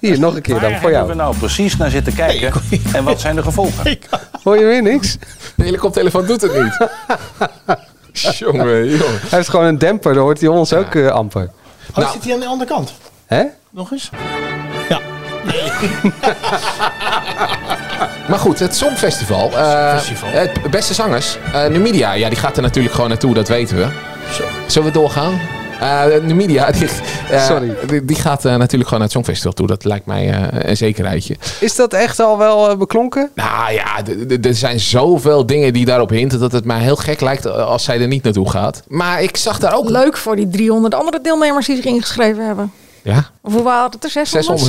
Hier, nog een keer dan, voor jou.
nou precies naar zitten kijken en wat zijn de gevolgen?
Hoor je weer niks?
De hele koptelefoon doet het niet. jongen, jongen.
Hij heeft gewoon een demper, dan hoort hij ons ook eh, amper.
Oh,
Nou.
zit hij aan de andere kant?
Hè?
Nog eens? Ja.
Maar goed, het Songfestival. eh,
Songfestival.
het beste zangers. Eh Numidia, ja, die gaat er natuurlijk gewoon naartoe, dat weten we.
Zo.
Zullen we doorgaan? Eh Numidia, die, eh,
Sorry.
die, die gaat eh, natuurlijk gewoon naar het Songfestival toe. Dat lijkt mij eh, een zekerheidje.
Is dat echt al wel eh, beklonken?
Nou ja, d- d- er zijn zoveel dingen die daarop hinten dat het mij heel gek lijkt eh, als zij er niet naartoe gaat. Maar ik zag daar ook...
Leuk voor die 300 andere deelnemers die zich ingeschreven hebben.
Ja,
Of hoe waren het er? 600?
600.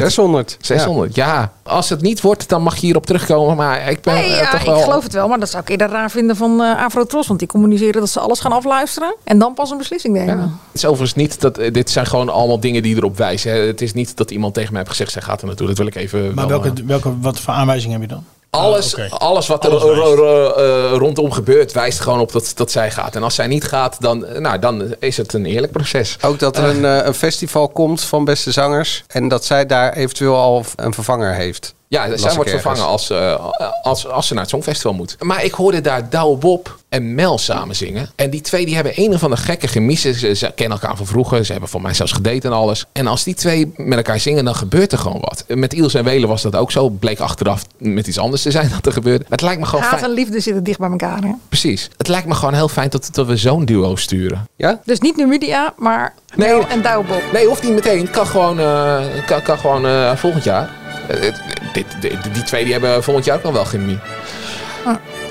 600.
600. Ja. als het niet wordt, dan mag je hierop terugkomen. Maar ik ben
Nee,
eh,
ja,
toch
ik
wel...
geloof het wel. Maar dat zou ik eerder raar vinden van eh Afrotros. Want die communiceren dat ze alles gaan afluisteren. En dan pas een beslissing nemen.
Het is overigens niet dat eh, dit zijn gewoon allemaal dingen die erop wijzen. Hè. Het is niet dat iemand tegen mij heeft gezegd: zij gaat er naartoe. Dat wil ik even.
Maar
wel, eh,
welke, welke, wat voor aanwijzing heb je dan?
alles,
Ah, oké.
alles wat er
Alles
ro-
wijst.
ro- ro- eh, rondom gebeurt, wijst gewoon op dat, dat zij gaat. En als zij niet gaat, dan, eh, nou, dan is het een eerlijk proces.
Ook dat er een, eh, een festival komt van beste zangers. En dat zij daar eventueel al een vervanger heeft.
Ja,
Las
zij
ik
wordt
ergens.
vervangen als, eh, als, als ze naar het Songfestival moet. Maar ik hoorde daar Douwe Bob en Mel samen zingen. En die twee die hebben een of andere gekke gemissen. Ze, ze kennen elkaar van vroeger. Ze hebben voor mij zelfs gedate en alles. En als die twee met elkaar zingen, dan gebeurt er gewoon wat. Met Iels en Welen was dat ook zo. Bleek achteraf met iets anders te zijn dat er gebeurde. Maar het lijkt me gewoon
Haat
fijn.
en liefde zitten dicht bij elkaar. Hè?
Precies. Het lijkt me gewoon heel fijn dat, dat we zo'n duo sturen.
Ja?
Dus niet Numidia, maar
Nee.
Mel en Douwbob.
Nee, hoeft niet meteen. Het Kan gewoon, eh, kan, kan gewoon eh, volgend jaar. Eh, het- dit, dit- die twee die hebben volgend jaar ook nog wel chemie.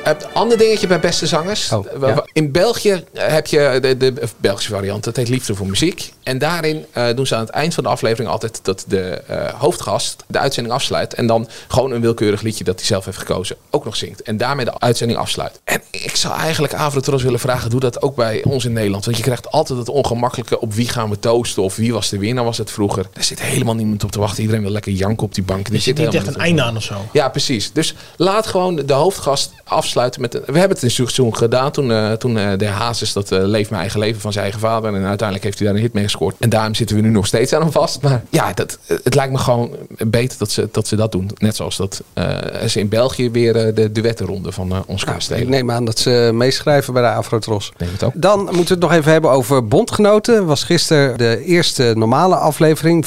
Het ander dingetje bij beste zangers.
Oh,
We-
ja.
we- In België heb je de, de Belgische variant. Dat heet Liefde voor Muziek. En daarin eh, doen ze aan het eind van de aflevering altijd dat de eh, hoofdgast de uitzending afsluit. En dan gewoon een willekeurig liedje dat hij zelf heeft gekozen ook nog zingt. En daarmee de uitzending afsluit. En ik zou eigenlijk Avrotros willen vragen. Doe dat ook bij ons in Nederland. Want je krijgt altijd het ongemakkelijke op wie gaan we toosten. Of wie was de winnaar was het vroeger. Daar zit helemaal niemand op te wachten. Iedereen wil lekker janken op die bank. Die
Er zit niet
helemaal
echt een
op te
einde aan of zo.
ja, precies. Dus laat gewoon de hoofdgast afsluiten met... een- we hebben het in seizoen gedaan toen, eh, toen eh, de Hazes dat eh, Leef Mijn Eigen Leven van zijn eigen vader. En uiteindelijk heeft hij daar een hit mee gescoord. En daarom zitten we nu nog steeds aan hem vast. Maar ja, dat, eh, het lijkt me gewoon beter dat ze dat, ze dat doen. Net zoals dat eh, ze in België weer eh, de duettenronde van eh, ons kunnen
Ik
stelen.
neem aan dat ze meeschrijven bij de Afrotros.
Neem het ook.
Dan moeten we het nog even hebben over bondgenoten. Was gisteren de eerste normale aflevering.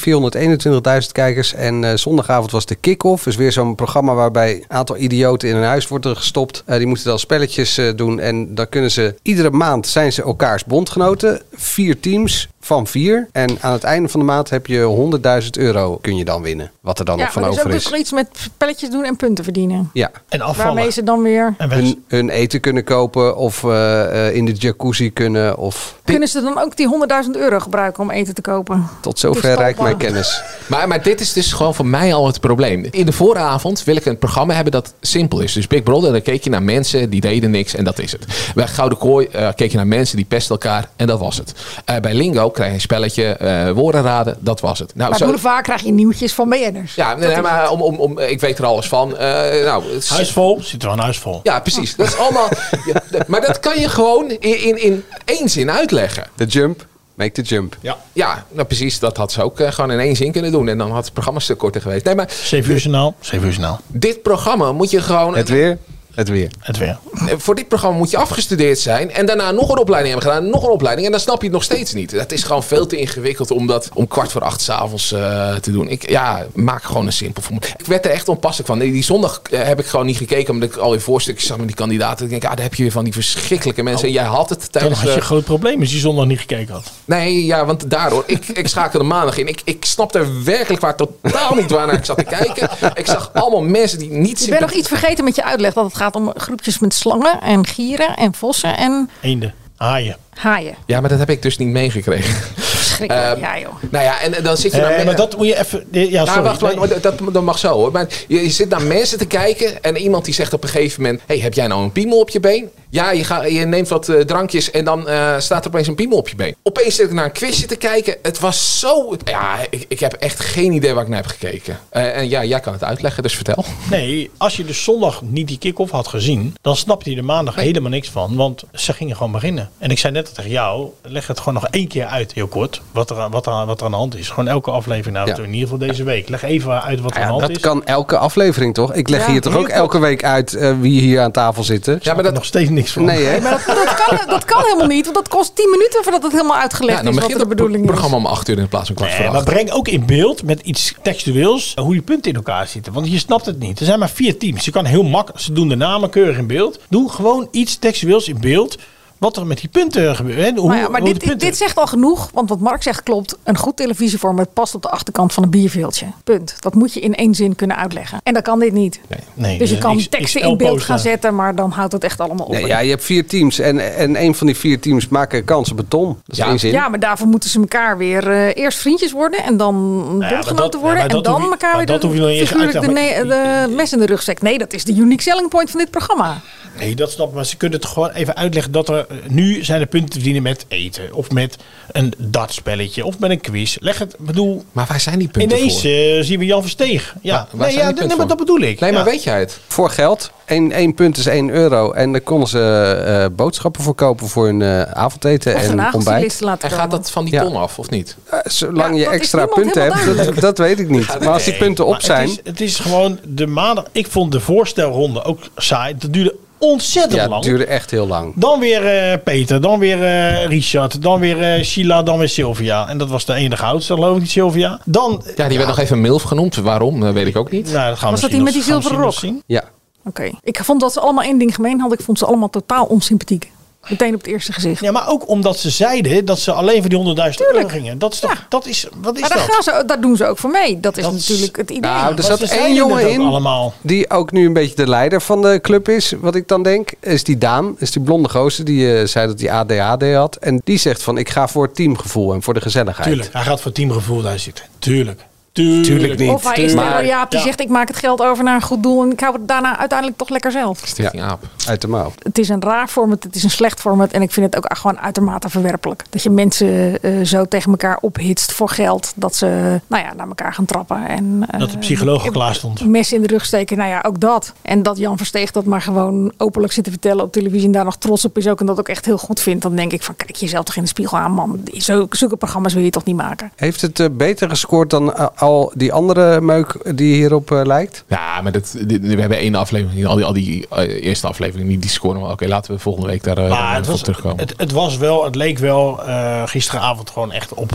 421.000 kijkers. En eh, zondagavond was de kick-off. Dus weer zo'n programma waarbij een aantal idioten in een huis worden gestopt. Eh, die moeten dan spelletjes eh, doen. En dan kunnen ze iedere maand zijn ze elkaars bondgenoten. Vier teams van vier. En aan het einde van de maand heb je 100.000 euro kun je dan winnen. Wat er dan nog van
maar dus
over
ook
is.
dus iets met spelletjes doen en punten verdienen.
Ja.
En afvallen.
Waarmee ze dan weer...
En weg.
Hun, hun eten kunnen kopen of eh, eh, in de jacuzzi kunnen of...
Kunnen ze dan ook die 100.000 euro gebruiken om eten te kopen?
Tot
Het
zover
is
reikt mijn
topbaar.
kennis.
Maar, maar dit is dus gewoon voor mij al het probleem. In de vooravond wil ik een programma hebben dat simpel is. Dus Big Brother, dan keek je naar mensen die deden niks en dat is het. Bij Gouden Kooi eh, keek je naar mensen die pesten elkaar en dat was het. Eh, bij Lingo krijg je een spelletje, eh, woorden raden, dat was het. Nou,
Bij
zo-
Boulevard krijg je nieuwtjes van BN'ers.
ja, nee, nee, maar om, om, om, ik weet er alles van. Eh, nou, het is-
Huisvol? Zit er wel een huisvol.
Ja, precies. Dat is allemaal. Ja, d- maar dat kan je gewoon in, in, in één zin uitleggen.
De jump, make the jump.
Ja.
Ja, nou precies. Dat had ze ook eh, gewoon in één zin kunnen doen. En dan had het programma een stuk korter geweest. Nee, maar
7 uur journaal. 7 uur journaal.
dit programma moet je gewoon.
Het weer, het weer.
Het weer.
Eh, voor dit programma moet je afgestudeerd zijn. En daarna nog een opleiding hebben gedaan. Nog een opleiding. En dan snap je het nog steeds niet. Dat is gewoon veel te ingewikkeld om dat om kwart voor acht s'avonds eh te doen. Ik, ja, maak gewoon een simpel formulier. Ik werd er echt onpasselijk van. Die, die zondag eh, heb ik gewoon niet gekeken. Omdat ik alweer voorstukjes zag met die kandidaten. Ik denk, ah, daar heb je weer van die verschrikkelijke mensen. En jij had het
Dan
tijdens...
had je een
de-
groot probleem als je zondag niet gekeken had.
Nee, ja, want daardoor. Ik, ik schakelde maandag in. Ik, ik snapte werkelijk waar totaal niet waar naar ik zat te kijken. Ik zag allemaal mensen die niet...
Ik ben nog
sympathie-
iets vergeten met je uitleg. Dat het gaat om groepjes met slangen en gieren en vossen en
Eenden. Haaien.
haaien.
Ja, maar dat heb ik dus niet meegekregen.
Verschrikkelijk.
Eh,
ja, joh.
Nou ja, en en dan zit je...
Eh,
naar me-
maar dat moet je even... Ja,
Ja,
sorry.
Nou, wacht,
Nee.
wacht, wacht, dat, dat mag zo hoor. Maar je, je zit naar mensen te kijken en iemand die zegt op een gegeven moment: hey, heb jij nou een piemel op je been? Ja, je, ga, je neemt wat eh, drankjes en dan eh, staat er opeens een piemel op je been. Opeens zit ik naar een quizje te kijken. Het was zo. Ja, ik, ik heb echt geen idee waar ik naar heb gekeken. Eh, en ja, jij kan het uitleggen, dus vertel.
Nee, als je dus zondag niet die kick-off had gezien, dan snapte je er maandag helemaal niks van. Want ze gingen gewoon beginnen. En ik zei net al tegen jou, leg het gewoon nog één keer uit, heel kort, wat er, aan- wat er, aan- wat er aan de hand is. Gewoon elke aflevering, nou,
Ja. Nou
in ieder geval deze week. Leg even uit wat er aan de
Ja,
hand
dat
is.
kan elke aflevering toch? Ik leg
Ja,
hier toch ook
heel goed.
elke week uit eh, wie hier aan tafel zitten?
Ja, maar
Er
dat.
nog steeds niks van.
Nee hè?
Maar dat, dat, kan, dat kan helemaal niet, want dat kost 10 minuten voordat het helemaal uitgelegd
Ja, dan
is wat
begint
de
het pro-
bedoeling is.
programma om 8 uur in plaats van kwart
Nee,
voor
maar
acht.
breng ook in beeld met iets textueels hoe die punten in elkaar zitten. Want je snapt het niet. Er zijn maar vier teams. Je kan heel makkelijk. Ze doen de namen keurig in beeld. Doe gewoon iets textueels in beeld. Wat er met die punten gebeurt. hè, Hoe,
Maar, ja, maar
hoe
dit,
de
dit,
punten-
dit zegt al genoeg, want wat Mark zegt klopt. Een goed televisieformat past op de achterkant van een bierveeltje. Punt. Dat moet je in één zin kunnen uitleggen. En dat kan dit niet.
Nee,
dus je
eh,
kan
X-
teksten
XL
in beeld
poster.
gaan zetten, maar dan houdt het echt allemaal op.
Nee, ja, je hebt vier teams en, en een van die vier teams maken kans op beton. Dat is
Ja.
één zin.
Ja, maar daarvoor moeten ze elkaar weer eh, eerst vriendjes worden en dan
maar dat-
bondgenoten
Nou ja,
worden
maar
en
dat hoef
dan
je-
elkaar
maar
weer
dat hoef je nog niet eens uit te
figuurlijk de,
leggen.
ne- de mes in de rugzak. Nee, dat is de unique selling point van dit programma.
Nee, dat snap ik. Maar ze kunnen het gewoon even uitleggen dat er... eh, Nu zijn er punten te verdienen met eten. Of met een dartspelletje. Of met een quiz. Leg het... Ik bedoel...
Maar waar zijn die punten
Ineens
voor?
eh, zien we Jan Versteeg. Ja,
Waar- waar
nee,
zijn
ja
die
nee,
punten
maar dat
voor?
bedoel ik.
Nee, maar
Ja.
weet jij het?
Voor geld. Eén één punt is 1 euro. En dan konden ze eh, boodschappen voor kopen voor hun eh, avondeten
Of
en
vandaag
ontbijt.
listen laten
En gaat
komen.
dat van die
Ja.
ton af, of niet?
Eh, zolang
Ja,
je
dat is
extra
niemand
punten
helemaal
hebt, dat, dat weet ik niet. Maar als die
Nee,
punten op
maar
zijn...
Het is, het is gewoon de maandag. Ik vond de voorstelronde ook saai. Dat duurde ontzettend
Ja, het
lang.
duurde echt heel lang.
Dan weer eh, Peter, dan weer eh, Richard, dan weer eh, Sheila, dan weer Sylvia. En dat was de enige oudste, geloof ik, die Sylvia. Dan.
Ja, die werd nog even MILF genoemd. Waarom, dat weet ik ook niet.
Nou, dat gaan we
Was dat
misschien
die met
nog-
die
gaan we
zilveren
misschien nog zien.
Ja.
Oké. Ik vond dat ze allemaal één ding gemeen hadden. Ik vond ze allemaal totaal onsympathiek. Meteen op het eerste gezicht.
Ja, maar ook omdat ze zeiden dat ze alleen voor die 100.000 euro
Tuurlijk.
gingen. Dat is toch.
Ja.
Dat is, wat is
maar daar,
dat?
gaan ze, daar doen ze ook voor mee. Dat is
Dat is-
natuurlijk het idee.
Nou, er
Maar
zat
ze
één
zeiden
jongen
dat
in
allemaal.
die ook nu een beetje de leider van de club is. Wat ik dan denk, is die Daan. Is die blonde gozer die eh, zei dat hij ADHD had. En die zegt van, ik ga voor het teamgevoel en voor de gezelligheid.
Tuurlijk, hij gaat voor teamgevoel daar zitten. Tuurlijk. Tuurlijk,
Tuurlijk niet.
Of hij is
Maar-
maar, Jaap die
Ja.
zegt ik maak het geld over naar een goed doel en ik hou het daarna uiteindelijk toch lekker zelf.
Stichting Aap.
Uit de mouw.
Het is een raar format, het is een slecht format en ik vind het ook gewoon uitermate verwerpelijk. Dat je mensen eh, zo tegen elkaar ophitst voor geld dat ze nou ja, naar elkaar gaan trappen. En, eh,
Dat de psycholoog al klaar stond.
mes in de rug steken. Nou ja, ook dat. En dat Jan Versteeg dat maar gewoon openlijk zit te vertellen op televisie en daar nog trots op is ook en dat ook echt heel goed vindt. Dan denk ik van kijk jezelf toch in de spiegel aan man. Zo, zulke programma's wil je toch niet maken.
Heeft het eh, beter gescoord dan eh, al die andere meuk die hierop eh, lijkt?
Ja, maar dat, dit- we hebben één aflevering. Al die, al die eh, eerste afleveringen, die, die scoren wel. Oké, laten we volgende week daar eh,
Maar het
op
was,
terugkomen.
het, het was wel, het leek wel eh, gisteravond gewoon echt op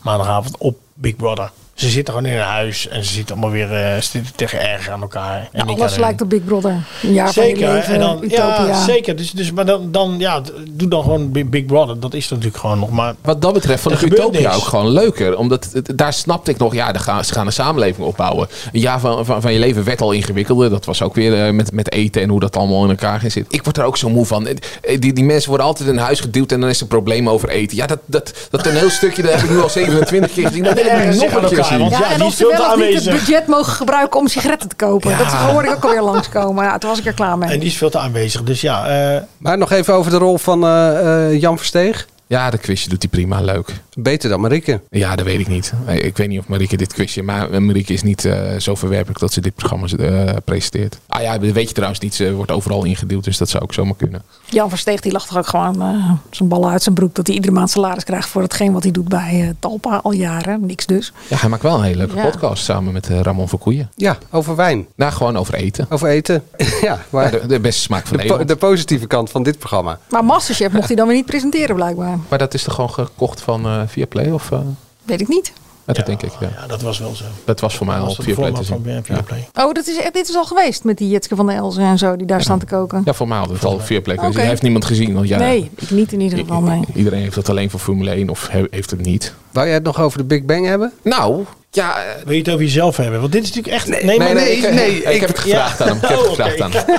maandagavond op Big Brother. Ze zitten gewoon in een huis en ze zitten allemaal weer eh, ze zitten tegen erg aan elkaar. En ik aan
Alles
hun.
lijkt op Big Brother. Een jaar van
Zeker,
je leven,
en dan,
Utopia.
ja, zeker. Dus, dus, maar dan, dan, ja, d- doe dan gewoon Big- Big Brother. Dat is natuurlijk gewoon nog maar.
Wat dat betreft vond
Er
ik
gebeurt
Utopia
niks.
ook gewoon leuker. Omdat het- daar snapte ik nog, ja, daar gaan, ze gaan een samenleving opbouwen. Een jaar van, van, van je leven werd al ingewikkelder. Dat was ook weer eh, met, met eten en hoe dat allemaal in elkaar ging zitten. Ik word er ook zo moe van. Eh, Die, die mensen worden altijd in huis geduwd en dan is er een probleem over eten. Ja, dat, dat, dat toneelstukje dat heb ik nu al 27 keer gezien. Dat wil ik
Ergens
nu nog
aan
een keer
elkaar,
zien.
want- Ja,
Ja, en
die
of
is
ze
veel te
wel of niet het
aanwezig.
budget mogen gebruiken om sigaretten te kopen. Dat hoorde ik ook alweer langskomen. Ja, toen was ik er klaar mee.
En die is veel te aanwezig. Dus ja, eh,
Maar nog even over de rol van eh, eh, Jan Versteeg.
Ja, de quizje doet die prima. Leuk.
Beter dan Marieke.
Ja, dat weet ik niet. Nee, Ik weet niet of Marieke dit quizje... Maar Marieke is niet eh, zo verwerpelijk dat ze dit programma eh, presenteert. Ah ja, dat weet je trouwens niet. Ze wordt overal ingeduwd, dus dat zou ook zomaar kunnen.
Jan Versteeg die lag toch ook gewoon eh, zijn ballen uit zijn broek. Dat hij iedere maand salaris krijgt voor hetgeen wat hij doet bij eh, Talpa al jaren. Niks dus.
Ja, hij maakt wel een hele leuke
Ja.
podcast samen met eh, Ramon Verkoeien.
Ja, over wijn.
Nou, gewoon over eten.
Over eten. ja,
Ja,
maar
de, de beste smaak van
de,
de,
po-
wereld.
de positieve kant van dit programma.
Maar Masterchef mocht hij dan weer niet presenteren blijkbaar.
Maar dat is toch gewoon gekocht van eh Viaplay? Of, eh?
Weet ik niet.
Ja, dat denk ik, ja.
ja, nou, dat was wel zo.
Dat was voor mij
Dat
al
was
op
de
Viaplay te
format van
zien.
eh,
Ja.
Viaplay.
Oh, dat is, dit is al geweest met die Jitske van de Elzen en zo die daar staan te koken.
ja, voor mij hadden we het al op Viaplay kunnen
Oké.
zien. Heeft niemand gezien? Want ja,
Nee, ik niet in ieder
i-
geval. Nee.
i- iedereen heeft dat alleen voor Formule 1 of he- heeft het niet.
Wou jij het nog over de Big Bang hebben?
Nou, ja... eh,
Wil je het over jezelf hebben? Want dit is natuurlijk echt. Nee, maar
nee, nee, ik,
nee.
ik, heb het gevraagd aan hem. Ik heb het
Oh,
gevraagd
oké.
aan hem.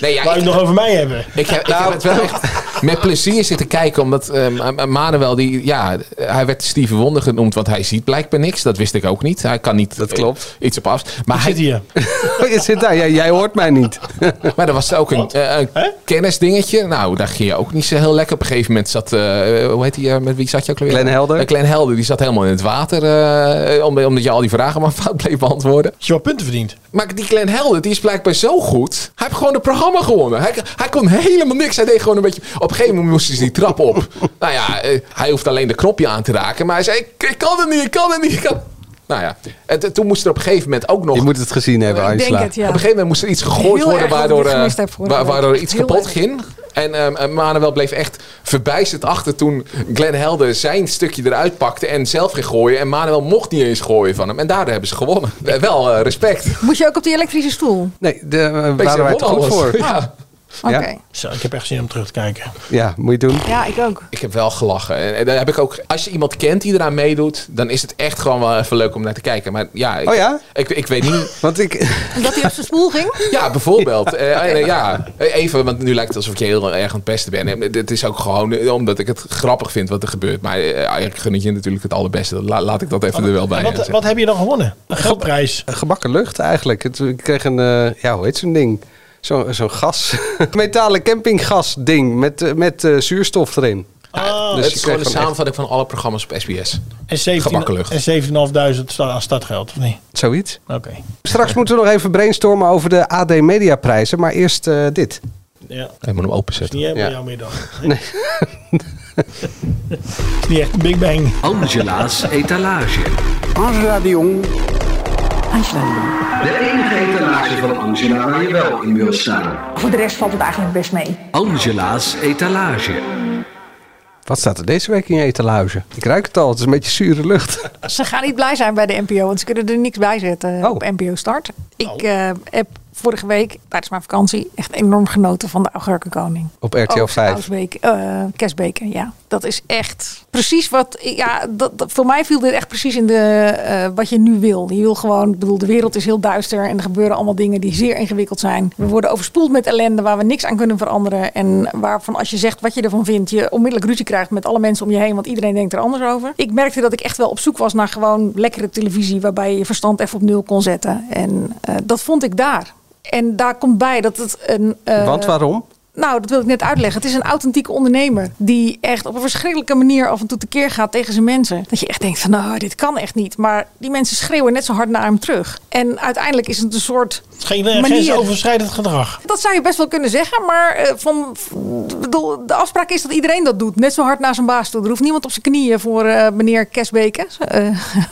Nee, ja,
Wou je
ik-
het nog over mij hebben?
Ik heb, ik
Nou,
heb het wel echt met plezier zitten kijken. Omdat ehm Manuel, die, ja, hij werd Steven Wonder genoemd. Want hij ziet blijkbaar niks. Dat wist ik ook niet. Hij kan niet
Dat klopt.
eh, iets op af. Maar,
Ik zit
hij,
hier.
Je zit Oh, daar. Jij, jij hoort mij niet.
maar er was ook een, eh, een
Hè?
kennisdingetje. Nou, daar ging je ook niet zo heel lekker. Op een gegeven moment zat, eh, hoe heet hij, eh, met wie zat je ook alweer?
Glenn Helder.
Eh, Glenn Helder, die zat helemaal in het water. eh, omdat- omdat je al die vragen maar fout bleef beantwoorden.
Als je wel punten verdient.
Maar die Glenn Helder, die is blijkbaar zo goed. Hij heeft gewoon het programma gewonnen. Hij, hij kon helemaal niks. Hij deed gewoon een beetje... Op een gegeven moment moesten ze die trap op. nou ja, eh, hij hoeft alleen de knopje aan te raken. Maar hij zei, ik, ik kan het niet, ik kan het niet. Ik kan... Nou ja, en t- toen moest er op een gegeven moment ook nog...
Je moet het gezien hebben,
Ik denk
Angela.
het, ja.
Op een gegeven moment moest er iets gegooid
Heel
worden
erg dat ik
waardoor,
dit
eh,
gemist heb vorige
wa-
week.
waardoor iets
Heel
kapot
erg.
ging. En ehm, eh, Manuel bleef echt verbijsterd achter toen Glenn Helder zijn stukje eruit pakte en zelf ging gooien. En Manuel mocht niet eens gooien van hem. En daardoor hebben ze gewonnen. Eh, Wel eh, respect.
Moest je ook op die elektrische stoel?
Nee, daar waren wij
Holland
toch goed
was.
voor.
Ja.
Oké.
Ja.
Zo, ik heb echt zin om terug te kijken.
Ja, moet je doen.
Ja, ik ook.
Ik heb wel gelachen. En, en daar heb ik ook, als je iemand kent die eraan meedoet, dan is het echt gewoon wel even leuk om naar te kijken. Maar ja, ik,
Oh ja?
ik, ik weet niet.
Want ik...
Dat hij op zijn spoel ging?
Ja, bijvoorbeeld. Eh, eh, ja, even, want nu lijkt het alsof ik je heel erg aan het pesten ben. Eh, Het is ook gewoon eh, omdat ik het grappig vind wat er gebeurt. Maar eh, ik gun het je natuurlijk het allerbeste. La- laat ik dat even er wel bij
En wat,
zeggen.
wat heb je dan gewonnen? Een geldprijs.
gebakken lucht eigenlijk. Het, ik kreeg een, eh, ja, hoe heet zo'n ding? Zo- Zo'n gas. Metalen campinggas ding met, eh, met eh, zuurstof erin.
Ah,
dus
het
je
is
kreeg
gewoon de
gewoon
samenvatting van alle programma's op SBS.
en 17
gebakken lucht.
En 17.500 sta- aan startgeld, of niet?
Zoiets.
Oké.
Straks moeten we nog even brainstormen over de AD Media prijzen. Maar eerst eh, dit.
Ja. Dat
Ik moet hem
is
openzetten.
niet helemaal
Ja.
jouw middag. Nee. Het is niet echt een Big Bang.
Angela's etalage.
Angela de Jong.
De enige etalage van Angela waar je wel in wilt staan.
Voor de rest valt het eigenlijk best mee.
Angela's etalage.
Wat staat er deze week in je etalage? Ik ruik het al. Het is een beetje zure lucht.
Ze gaan niet blij zijn bij de NPO, want ze kunnen er niks bij zetten
Oh.
op NPO Start. Ik eh, heb vorige week tijdens mijn vakantie echt enorm genoten van de Oh, Augurkenkoning.
Op RTL
Ook
5.
Oudbeek, eh, Kesbeke, ja. Dat is echt precies wat... Ja, dat, dat- voor mij viel dit echt precies in de, eh, wat je nu wil. Je wil gewoon... Ik bedoel, de wereld is heel duister en er gebeuren allemaal dingen die zeer ingewikkeld zijn. We worden overspoeld met ellende waar we niks aan kunnen veranderen. En waarvan als je zegt wat je ervan vindt, je onmiddellijk ruzie krijgt met alle mensen om je heen. Want iedereen denkt er anders over. Ik merkte dat ik echt wel op zoek was naar gewoon lekkere televisie waarbij je je verstand even op nul kon zetten. En eh, dat vond ik daar. En daar komt bij dat het een... eh,
Want waarom?
nou, dat wil ik net uitleggen. Het is een authentieke ondernemer die echt op een verschrikkelijke manier af en toe tekeer gaat tegen zijn mensen. Dat je echt denkt van, nou, dit kan echt niet. Maar die mensen schreeuwen net zo hard naar hem terug. En uiteindelijk is het een soort
Geen eh,
manier.
grensoverschrijdend gedrag.
Dat zou je best wel kunnen zeggen, maar eh, van, f- bedoel, de afspraak is dat iedereen dat doet. Net zo hard naar zijn baas toe. Er hoeft niemand op zijn knieën voor eh, meneer Kesbeke. eh,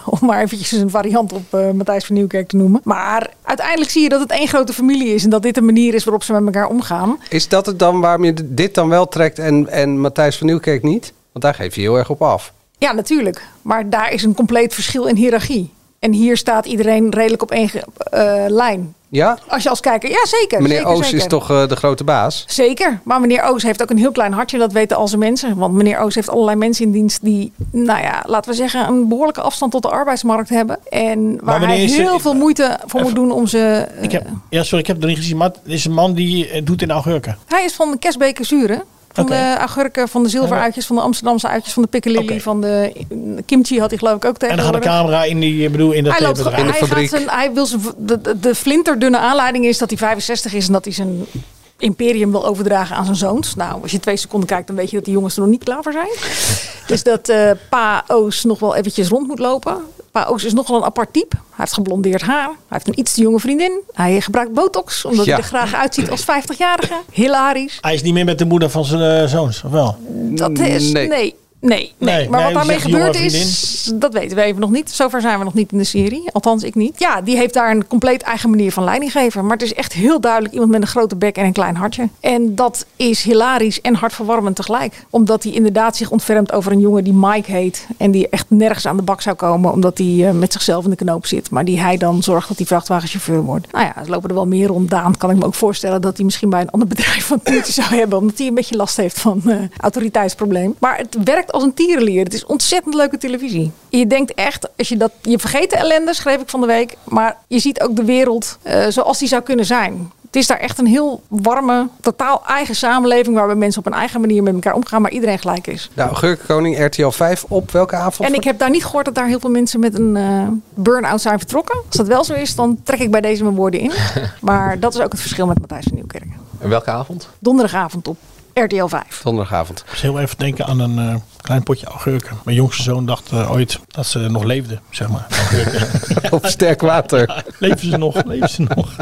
om maar eventjes een variant op eh, Matthijs van Nieuwkerk te noemen. Maar uiteindelijk zie je dat het één grote familie is. En dat dit de manier is waarop ze met elkaar omgaan.
Is dat het dan waarom je d- dit dan wel trekt en, en Matthijs van Nieuwkerk niet? Want daar geef je heel erg op af.
Ja, natuurlijk. Maar daar is een compleet verschil in hiërarchie. En hier staat iedereen redelijk op één ge- eh, lijn.
Ja?
Als je als kijker, ja zeker.
Meneer
zeker,
Oos
zeker.
is toch eh, de grote baas?
Zeker, maar meneer Oos heeft ook een heel klein hartje, dat weten al zijn mensen. Want meneer Oos heeft allerlei mensen in dienst die, nou ja, laten we zeggen, een behoorlijke afstand tot de arbeidsmarkt hebben. En waar
wanneer
hij
is er-
heel veel moeite voor moet doen om ze. eh,
Ik heb, ja, sorry, ik heb het nog niet gezien, maar het is een man die eh, doet in augurken.
Hij is van de Kesbeke Zuren. Van
Oké.
de agurken, van de zilveruitjes, van de Amsterdamse uitjes, van de piccalilli, van de kimchi had hij geloof ik ook
En dan gaat de
tegenwoordig.
camera in die, ik bedoel, in dat eh,
hij loopt,
bedrijf.
gewoon- hij Gaat zijn, hij wil zijn, de, de, de flinterdunne aanleiding is dat hij 65 is en dat hij zijn imperium wil overdragen aan zijn zoons. Nou, als je twee seconden kijkt, dan weet je dat die jongens er nog niet klaar voor zijn. dus dat eh pa Oos nog wel eventjes rond moet lopen. Pa Oos is nogal een apart type. Hij heeft geblondeerd haar. Hij heeft een iets te jonge vriendin. Hij gebruikt botox, omdat
Ja.
hij er graag uitziet als 50-jarige. Hilarisch.
Hij is niet meer met de moeder van zijn eh, zoons, of wel?
Dat is. Nee. Nee. Nee,
Nee,
maar
nee,
wat daarmee
zegt die jonge
gebeurd is, dat weten we even nog niet. Zover zijn we nog niet in de serie. Althans, ik niet. Ja, die heeft daar een compleet eigen manier van leiding geven. Maar het is echt heel duidelijk iemand met een grote bek en een klein hartje. En dat is hilarisch en hartverwarmend tegelijk. Omdat hij inderdaad zich ontfermt over een jongen die Mike heet. En die echt nergens aan de bak zou komen. Omdat hij eh, met zichzelf in de knoop zit. Maar die hij dan zorgt dat hij vrachtwagenchauffeur wordt. Nou ja, er lopen er wel meer rond. Daan kan ik me ook voorstellen dat hij misschien bij een ander bedrijf een puntje zou hebben. Omdat hij een beetje last heeft van eh, autoriteitsprobleem. Maar het werkt als een tierenlier. Het is ontzettend leuke televisie. Je denkt echt, als je dat. Je vergeet de ellende, schreef ik van de week. Maar je ziet ook de wereld eh, zoals die zou kunnen zijn. Het is daar echt een heel warme, totaal eigen samenleving. Waarbij mensen op een eigen manier met elkaar omgaan, maar iedereen gelijk is.
Nou, Geurkenkoning, RTL 5, op welke avond?
En ik heb daar niet gehoord dat daar heel veel mensen met een eh, burn-out zijn vertrokken. Als dat wel zo is, dan trek ik bij deze mijn woorden in. Maar dat is ook het verschil met Matthijs van Nieuwkerk.
En welke avond?
Donderdagavond op RTL 5.
Donderdagavond.
Ik moest heel even denken aan een eh, klein potje augurken. Mijn jongste zoon dacht eh, ooit dat ze nog leefde, zeg maar.
Op sterk water.
Leven ze nog, leven ze nog.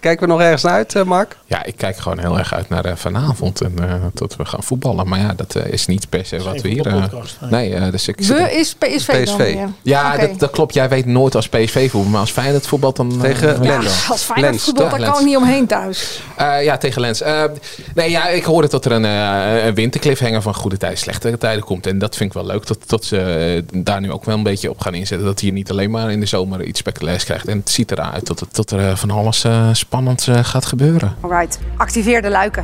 Kijken we nog ergens naar uit, eh, Mark?
Ja, ik kijk gewoon heel erg uit naar eh, vanavond en eh, dat we gaan voetballen. Maar ja, dat eh, is niet per se wat we
geen
hier... eh,
voetbalpodcast, nee.
nee, eh, dus ik zit
We
er-
is PSV, dan weer.
Ja,
Oké.
dat, dat klopt. Jij weet nooit als PSV voetbal, maar als Feyenoord voetbal dan... eh,
Tegen
weet
Ja,
ik wel.
als Feyenoord
Lens,
voetbal,
toch?
daar
Lens.
kan ik niet omheen thuis.
Eh, ja, tegen Lens. Eh, nee, ja, ik hoorde dat er een, eh een wintercliffhanger van goede tijden, slechte tijden komt. En dat vind ik wel leuk, dat, dat ze eh, daar nu ook wel een beetje op gaan inzetten. Dat je niet alleen maar in de zomer iets spectaculairs krijgt. En het ziet eruit dat, het- dat er eh, van alles eh, spannends eh, gaat gebeuren.
Alright, activeer de luiken.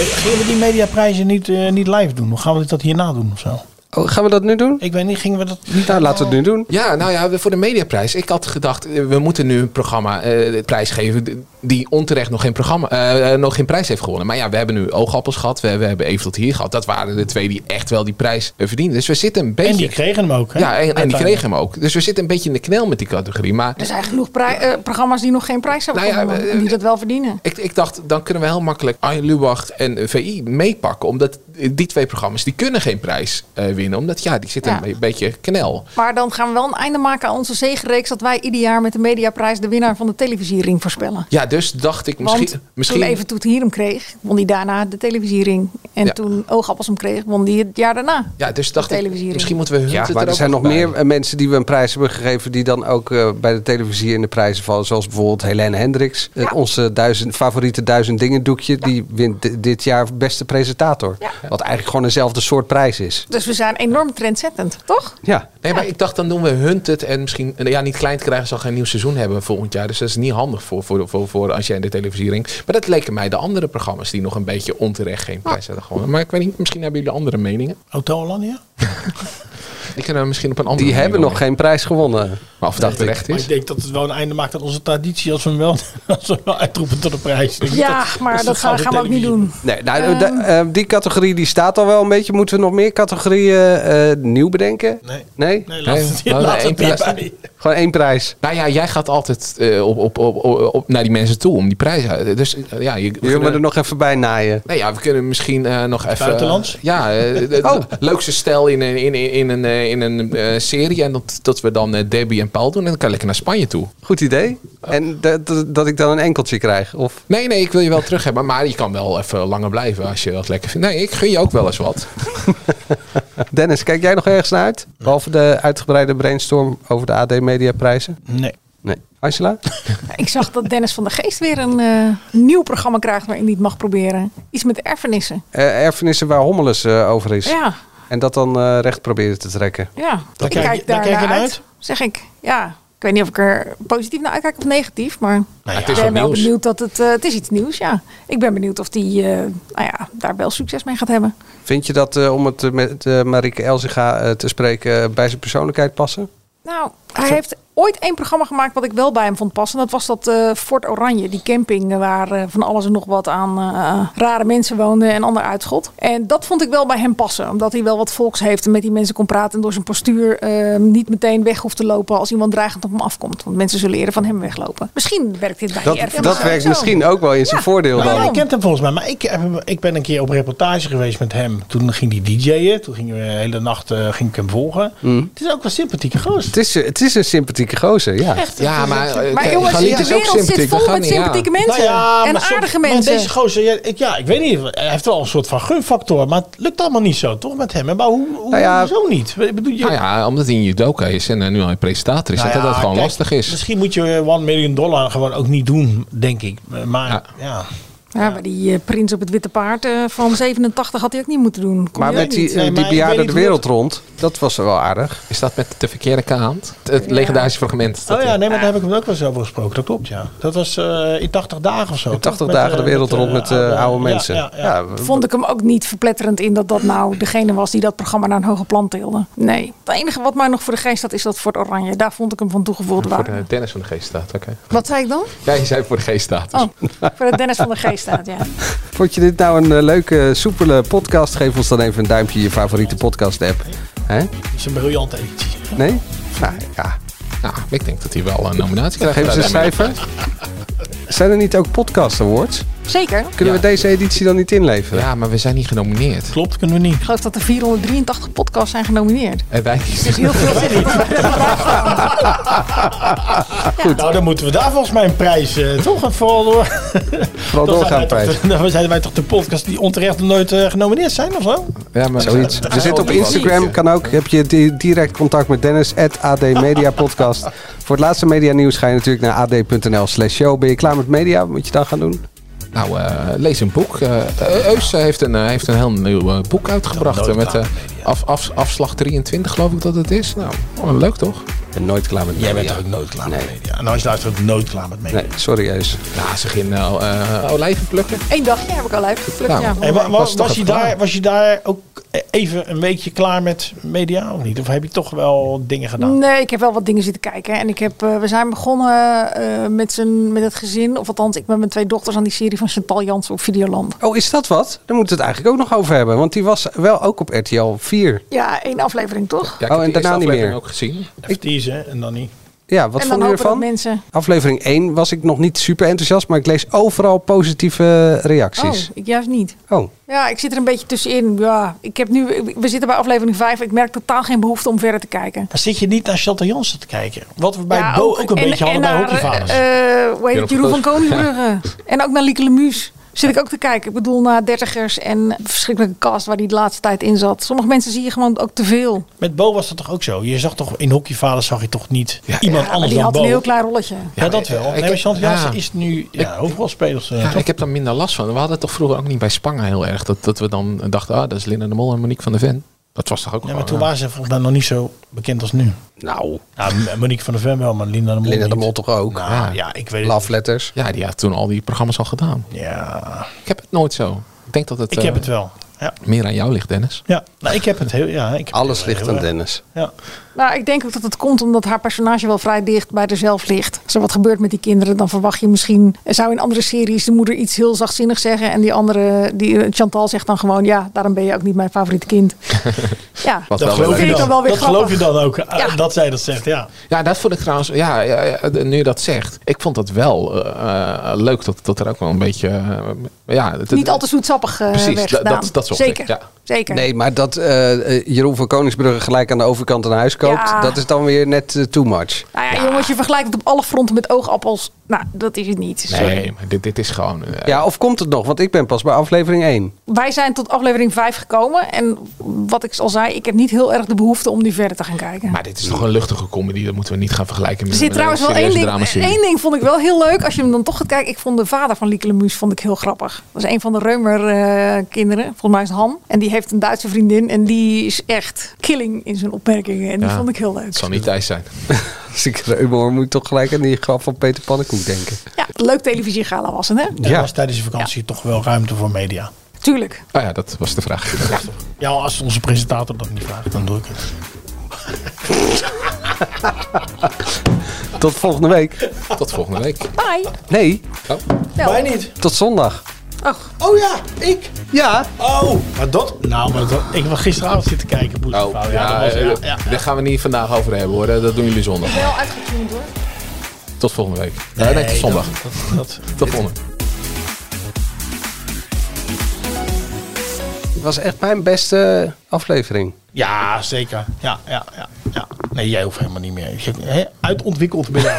Gingen we die mediaprijzen niet, eh, niet live doen? Hoe gaan we dat hierna doen of zo?
Oh, gaan we dat nu doen?
Ik weet niet, gingen we dat niet...
Nou, laten we het nu doen.
Ja, nou ja, voor de mediaprijs. Ik had gedacht, eh, we moeten nu een programma eh, prijs geven d- die onterecht nog geen, programma, eh, eh, nog geen prijs heeft gewonnen. Maar ja, we hebben nu oogappels gehad. We, we hebben even tot hier gehad. Dat waren de twee die echt wel die prijs eh, verdienden. Dus we zitten een beetje...
En die kregen hem ook, hè?
Ja, en, en die
Uiteindelijk.
kregen hem ook. Dus we zitten een beetje in de knel met die categorie. Maar
Er zijn genoeg pri- eh, programma's die nog geen prijs hebben
Nou ja,
gewonnen.
eh,
en die dat wel verdienen.
ik, ik dacht, dan kunnen we heel makkelijk Arjen Lubach en eh, VI meepakken. Omdat eh, die twee programma's, die kunnen geen prijs eh, winnen. Omdat ja, die zitten
Ja.
een be- beetje knel.
Maar dan gaan we wel een einde maken aan onze zegenreeks... dat wij ieder jaar met de Mediaprijs de winnaar van de televisiering voorspellen.
Ja, dus dacht ik misschien...
Want
misschien
toen even Toet hier hem kreeg, won hij daarna de televisiering. En
Ja.
toen Oogappels hem kreeg, won hij het jaar daarna.
Ja, dus dacht ik,
televisiering.
misschien moeten we hun
Ja,
het
maar
er
er
ook
zijn nog
bij.
meer eh, mensen die we een prijs hebben gegeven... die dan ook eh, bij de televisie in de prijzen vallen. Zoals bijvoorbeeld Helene Hendricks. eh, onze duizend, favoriete duizend dingen doekje. Die wint di- dit jaar beste presentator.
Ja.
Wat eigenlijk gewoon eenzelfde soort prijs is.
Dus we zijn enorm trendzettend, toch?
Ja.
Nee, maar ik dacht dan doen we Hunted en misschien nou ja, niet klein te krijgen zal geen nieuw seizoen hebben volgend jaar. Dus dat is niet handig voor, voor, voor, voor als jij in de televisie ringt. Maar dat leken mij de andere programma's die nog een beetje onterecht geen prijs hadden gewonnen. Maar ik weet niet, misschien hebben jullie andere meningen.
Hotel Hollandia?
Die kunnen we misschien op een andere
Die
manier
hebben
wel
nog geen prijs gewonnen.
Maar of dat terecht
Maar
is.
ik denk dat het wel een einde maakt aan onze traditie als we hem wel, als we hem wel uitroepen tot een prijs. Ik denk
Ja, maar dat,
soort
gaan, gaan we ook niet
televisie.
doen.
Nee, nou, de- eh, die categorie die staat al wel een beetje. Moeten we nog meer categorieën eh, nieuw bedenken?
Nee.
Nee?
Nee, laat het,
Nee,
laat
nee,
het
één
hierbij.
Gewoon één prijs.
Nou ja, jij gaat altijd eh, op, op, op, op, op- naar die mensen toe om die prijs uit. Dus eh, ja, je, we
Die willen we
kunnen-
er nog even bij naaien.
Nee, ja, we kunnen misschien eh, nog even...
Buitenlands?
ja, eh, het
Oh.
leukste stel in, een- in, in, in een, eh, in een eh, serie. En dat, dat we dan eh, Debbie en Paul doen. En dan kan je lekker naar Spanje toe.
Goed idee. En dat- dat- dat ik dan een enkeltje krijg. Of
Nee, nee, ik wil je wel terug hebben. Maar je kan wel even langer blijven als je dat lekker vindt. Nee, ik gun je ook wel eens wat.
Dennis, kijk jij nog ergens naar uit? Behalve de uitgebreide brainstorm over de AD Media prijzen?
Nee.
Nee. Angela?
Ik zag dat Dennis van der Geest weer een eh, nieuw programma krijgt waarin hij het mag proberen. Iets met erfenissen.
Eh, erfenissen waar Hommelus eh, over is.
Ja,
En dat dan eh, recht proberen te trekken.
ja.
Daar
ik
kijk-
kijk
daar
daar
kijk je
naar
naar
uit,
uit?
Zeg ik. Ja. Ik weet niet of ik er positief naar uitkijk of negatief, maar
Nou ja,
het is
ik
wat
ben wel
nieuws.
benieuwd dat het, eh, het is iets nieuws, ja. Ik ben benieuwd of die, eh, nou ja, daar wel succes mee gaat hebben.
Vind je dat, eh, om het eh, met eh, Marike Elzega eh, te spreken, eh, bij zijn persoonlijkheid passen?
Nou, hij heeft ooit één programma gemaakt wat ik wel bij hem vond passen. Dat was dat eh, Fort Oranje, die camping eh, waar eh, van alles en nog wat aan eh, rare mensen woonden en ander uitschot. En dat vond ik wel bij hem passen, omdat hij wel wat volks heeft en met die mensen kon praten en door zijn postuur eh, niet meteen weg hoeft te lopen als iemand dreigend op hem afkomt. Want mensen zullen eerder van hem weglopen. Misschien werkt dit bij
Dat,
die erfenis
dat
ook
werkt
zo.
misschien ook wel in zijn
Ja.
voordeel
Nou,
dan.
jij kent hem volgens mij. Maar ik, heb hem- ik ben een keer op reportage geweest met hem. Toen ging hij DJ'en. Toen gingen we de hele nacht eh, ging ik hem volgen. Het is ook wel sympathieke gozer.
Het is, het is een sympathieke gozer, ja.
Ja, maar, eh,
Maar
kijk,
jongens,
Galit
de
is ook
wereld zit
sympathiek.
vol
Dat gaat
met
niet, ja.
sympathieke mensen
ja,
en
maar soms-
aardige
maar
mensen.
deze gozer, ja, ik, ja, ik weet niet. Hij heeft wel een soort van gunfactor. Maar het lukt allemaal niet zo, toch? Met hem. Maar hoe, hoe
Nou ja,
zo niet? Ik bedoel, je,
Nou ja, omdat hij een judoka is en eh, nu al een presentator is.
Nou
dat
ja,
dat gewoon
kijk,
lastig is.
Misschien moet je eh, 1 miljoen dollar gewoon ook niet doen, denk ik. Eh, Maar ja.
Ja.
Ja, maar die eh, prins op het witte paard eh, van 87 had hij ook niet moeten doen. Kon
Maar
hij ook
met die,
niet. Nee,
eh,
maar
die
ik
bejaarden
weet
de
niet hoe
wereld rond, dat was wel aardig.
Is dat met de verkeerde kaant? Het legendarische fragment. dat
Oh ja,
hij-
nee, maar daar heb ik hem ook wel eens over gesproken. Dat klopt, ja. Dat was eh, in 80 dagen of zo.
In
toch?
80
Met,
dagen de
eh,
wereld
met,
rond
eh,
met eh, oude mensen.
Ja, ja, ja.
Ja, w-
Vond ik hem ook niet verpletterend in dat dat nou degene was die dat programma naar een hoger plan tilde. Nee. Het enige wat mij nog voor de geest staat is dat voor het Oranje. Daar vond ik hem van toegevoegd
Oh.
Voor
waarde.
de Dennis van de geest staat, oké.
Wat zei ik dan?
Ja, je zei voor de geest staat.
Oh, voor het Dennis van de Geest staat, ja.
Vond je dit nou een eh, leuke, soepele podcast? Geef ons dan even een duimpje in je favoriete podcast-app. Hè?
Dat is een briljante editie.
Nee? Nou ja,
Nou, ik denk dat hij wel een nominatie krijgt.
geef eens een
Daarmee.
cijfer. Zijn er niet ook podcast awards?
Zeker.
Kunnen we
Ja.
deze editie dan niet inleveren?
Ja, maar we zijn niet genomineerd.
Klopt, kunnen we niet.
Ik geloof dat er 483 podcasts zijn genomineerd.
En Eh, wij niet.
Dus heel veel zin in.
Nou, dan moeten we daar volgens mij een prijs eh, toch en vooral door.
Vooral
Dan zijn wij
doorgaan
toch
prijs.
de- Dan zijn wij toch de podcast die onterecht nooit eh, genomineerd zijn of zo?
Ja, maar
Zoiets.
Ja,
We zitten op
wel een
Instagram,
beetje.
kan ook. Heb je di- direct contact met Dennis, at AD Media Podcast. Voor het laatste media nieuws ga je natuurlijk naar ad.nl slash show. Ben je klaar met media? Moet je dan gaan doen?
Nou, eh, lees een boek. Eh, eh, Eus eh, heeft een, eh, heeft een heel nieuw eh, boek uitgebracht. eh, met eh, af, af, afslag 23, geloof ik dat het is. Nou, oh, leuk toch?
Ik ben nooit klaar met media.
Jij bent toch ook nooit klaar met media? En als je luistert, ook nooit klaar met media.
Nee, sorry Eus.
Nou, ze ging nou eh, olijven plukken.
Eén dagje heb ik al uitgeplukt.
Nou,
ja,
Hey, wa- wa-
was
was,
toch
je
het klaar?
daar, was je daar ook eh, even een weekje klaar met media of niet? Of heb je toch wel dingen gedaan?
Nee, ik heb wel wat dingen zitten kijken. En ik heb, eh, we zijn begonnen eh, met, z'n- met het gezin, of althans ik met mijn twee dochters aan die serie van Chantal Jansen op Videoland.
Oh, is dat wat? Daar moeten we het eigenlijk ook nog over hebben. Want die was wel ook op RTL 4.
Ja, één aflevering toch?
Ja, ik
Oh, en
heb de eerste
daarna niet
aflevering
meer.
ook gezien.
Expertise hè, en dan niet.
Ja, wat
en dan
vonden
hopen
jullie
dat
ervan?
mensen...
Aflevering 1 was ik nog niet super enthousiast, maar ik lees overal positieve reacties.
Oh, ik juist niet.
Oh,
Ja, ik zit er een beetje tussenin. Ja, ik heb nu, we zitten bij aflevering 5. Ik merk totaal geen behoefte om verder te kijken.
Maar zit je niet naar Chantal Jansen te kijken? Wat we bij
ja,
Bo ook, een beetje hadden bij
naar,
hockeyvaders.
eh, eh, hoe heet het, Jeroen van Koningsbrugge. En ook naar Lieke Lemuus. Zit ik ook te kijken. Ik bedoel, na dertigers en de verschrikkelijke cast waar die de laatste tijd in zat. Sommige mensen zie je gewoon ook te veel.
Met Bo was dat toch ook zo? Je zag toch in hockeyvader zag je toch niet iemand
Ja, maar
anders
die
dan
had
Bo?
een heel klein rolletje.
Ja, dat wel.
ik-
Nee, maar Chant
ja.
Jansen is nu ja, hoofdrolspelers. eh,
Ja,
toch?
ik heb daar minder last van. We hadden het toch vroeger ook niet bij Spangen heel erg. Dat, dat we dan dachten, ah, dat is Linda de Mol en Monique van der Ven. Dat was toch ook
oh,
eh,
Ja, maar
gewoon,
toen
ja.
waren ze volgens mij nog niet zo bekend als nu.
Nou.
Ja, M- Monique van der Ven wel, maar Linda de Mol
Linda de
niet.
Mol toch ook?
Nou,
Ja.
ja. ik weet het.
Love Letters.
Ja, die had toen al die programma's al gedaan.
Ja,
Ik heb het nooit zo. Ik denk dat het,
ik heb
eh,
het wel. Ja,
meer aan jou ligt, Dennis.
ja. Nou, ik heb het heel... Ja, ik heb
Alles
het heel
ligt aan
erg.
Dennis.
Ja.
Nou, ik denk ook dat het komt omdat haar personage wel vrij dicht bij zichzelf ligt. Als er wat gebeurt met die kinderen, dan verwacht je misschien... er Zou in andere series de moeder iets heel zachtzinnigs zeggen... en die andere, die, eh, Chantal zegt dan gewoon... ja, daarom ben je ook niet mijn favoriete kind. ja,
Wat
Dat,
wel weer
geloof
leuk.
je, dan.
Vind ik dan wel weer
dat geloof je dan ook, eh,
Ja.
dat zij dat zegt. Ja.
Ja, dat vond ik trouwens, ja, ja, ja, nu je dat zegt. Ik vond dat wel eh, eh, leuk dat, dat er ook wel een beetje, eh, ja. dat-
niet al te zoetsappig eh,
Precies,
werd
dat-
gedaan.
dat- dat soort
Zeker,
dingen, ja.
zeker.
Nee, maar dat eh, eh, Jeroen van Koningsbrugge gelijk aan de overkant een huis koopt,
Ja.
dat is dan weer net eh, too much.
Nou ja, jongens, je vergelijkt het op alle fronten met oogappels. Nou, dat is het niet. Sorry.
Nee, maar dit, dit is gewoon, eh,
Ja, of komt het nog? Want ik ben pas bij aflevering 1.
Wij zijn tot aflevering 5 gekomen. En wat ik al zei, ik heb niet heel erg de behoefte om nu verder te gaan kijken.
maar dit is toch een luchtige comedy. Dat moeten we niet gaan vergelijken met
Er zit
met een
trouwens wel één
Eh, serieuze
ding.
dramaserie.
Één ding vond ik wel heel leuk. Als je hem dan toch gaat kijken. Ik vond de vader van Lieke Lemus vond ik heel grappig. Dat is een van de Reumer eh, kinderen. Volgens mij is het Han. En die heeft een Duitse vriendin. En die is echt killing in zijn opmerkingen. En die
Ja.
vond ik heel leuk.
Het zal niet Thijs zijn.
Als Dus ik erover hoor, moet ik toch gelijk aan die grap van Peter Pannenkoek denken.
Ja, leuk televisiegala was het, hè?
Er was tijdens de vakantie toch wel ruimte voor media.
Tuurlijk.
Oh ja, dat was de vraag.
Ja, als onze presentator dat niet vraagt, dan doe ik het.
Tot volgende week.
Tot volgende week. Oh.
Bye.
Nee,
Nou.
Wij niet.
tot zondag.
Och,
Oh ja, ik.
Ja,
Oh, maar dat... Nou, maar dat, ik was gisteravond zitten kijken,
Oh,
Boezemvrouw.
ja,
ja, dat was...
eh,
Ja, ja.
Daar gaan we niet vandaag over hebben hoor. Dat doen jullie zondag.
wel uitgetuned hoor.
Tot volgende week. Eh, Nee, nee, tot zondag.
Dat, dat,
Tot volgende.
het was echt mijn beste aflevering.
ja, zeker. Ja, ja, ja, ja. Nee, jij hoeft helemaal niet meer. Je- hè, Uitontwikkeld ben jij.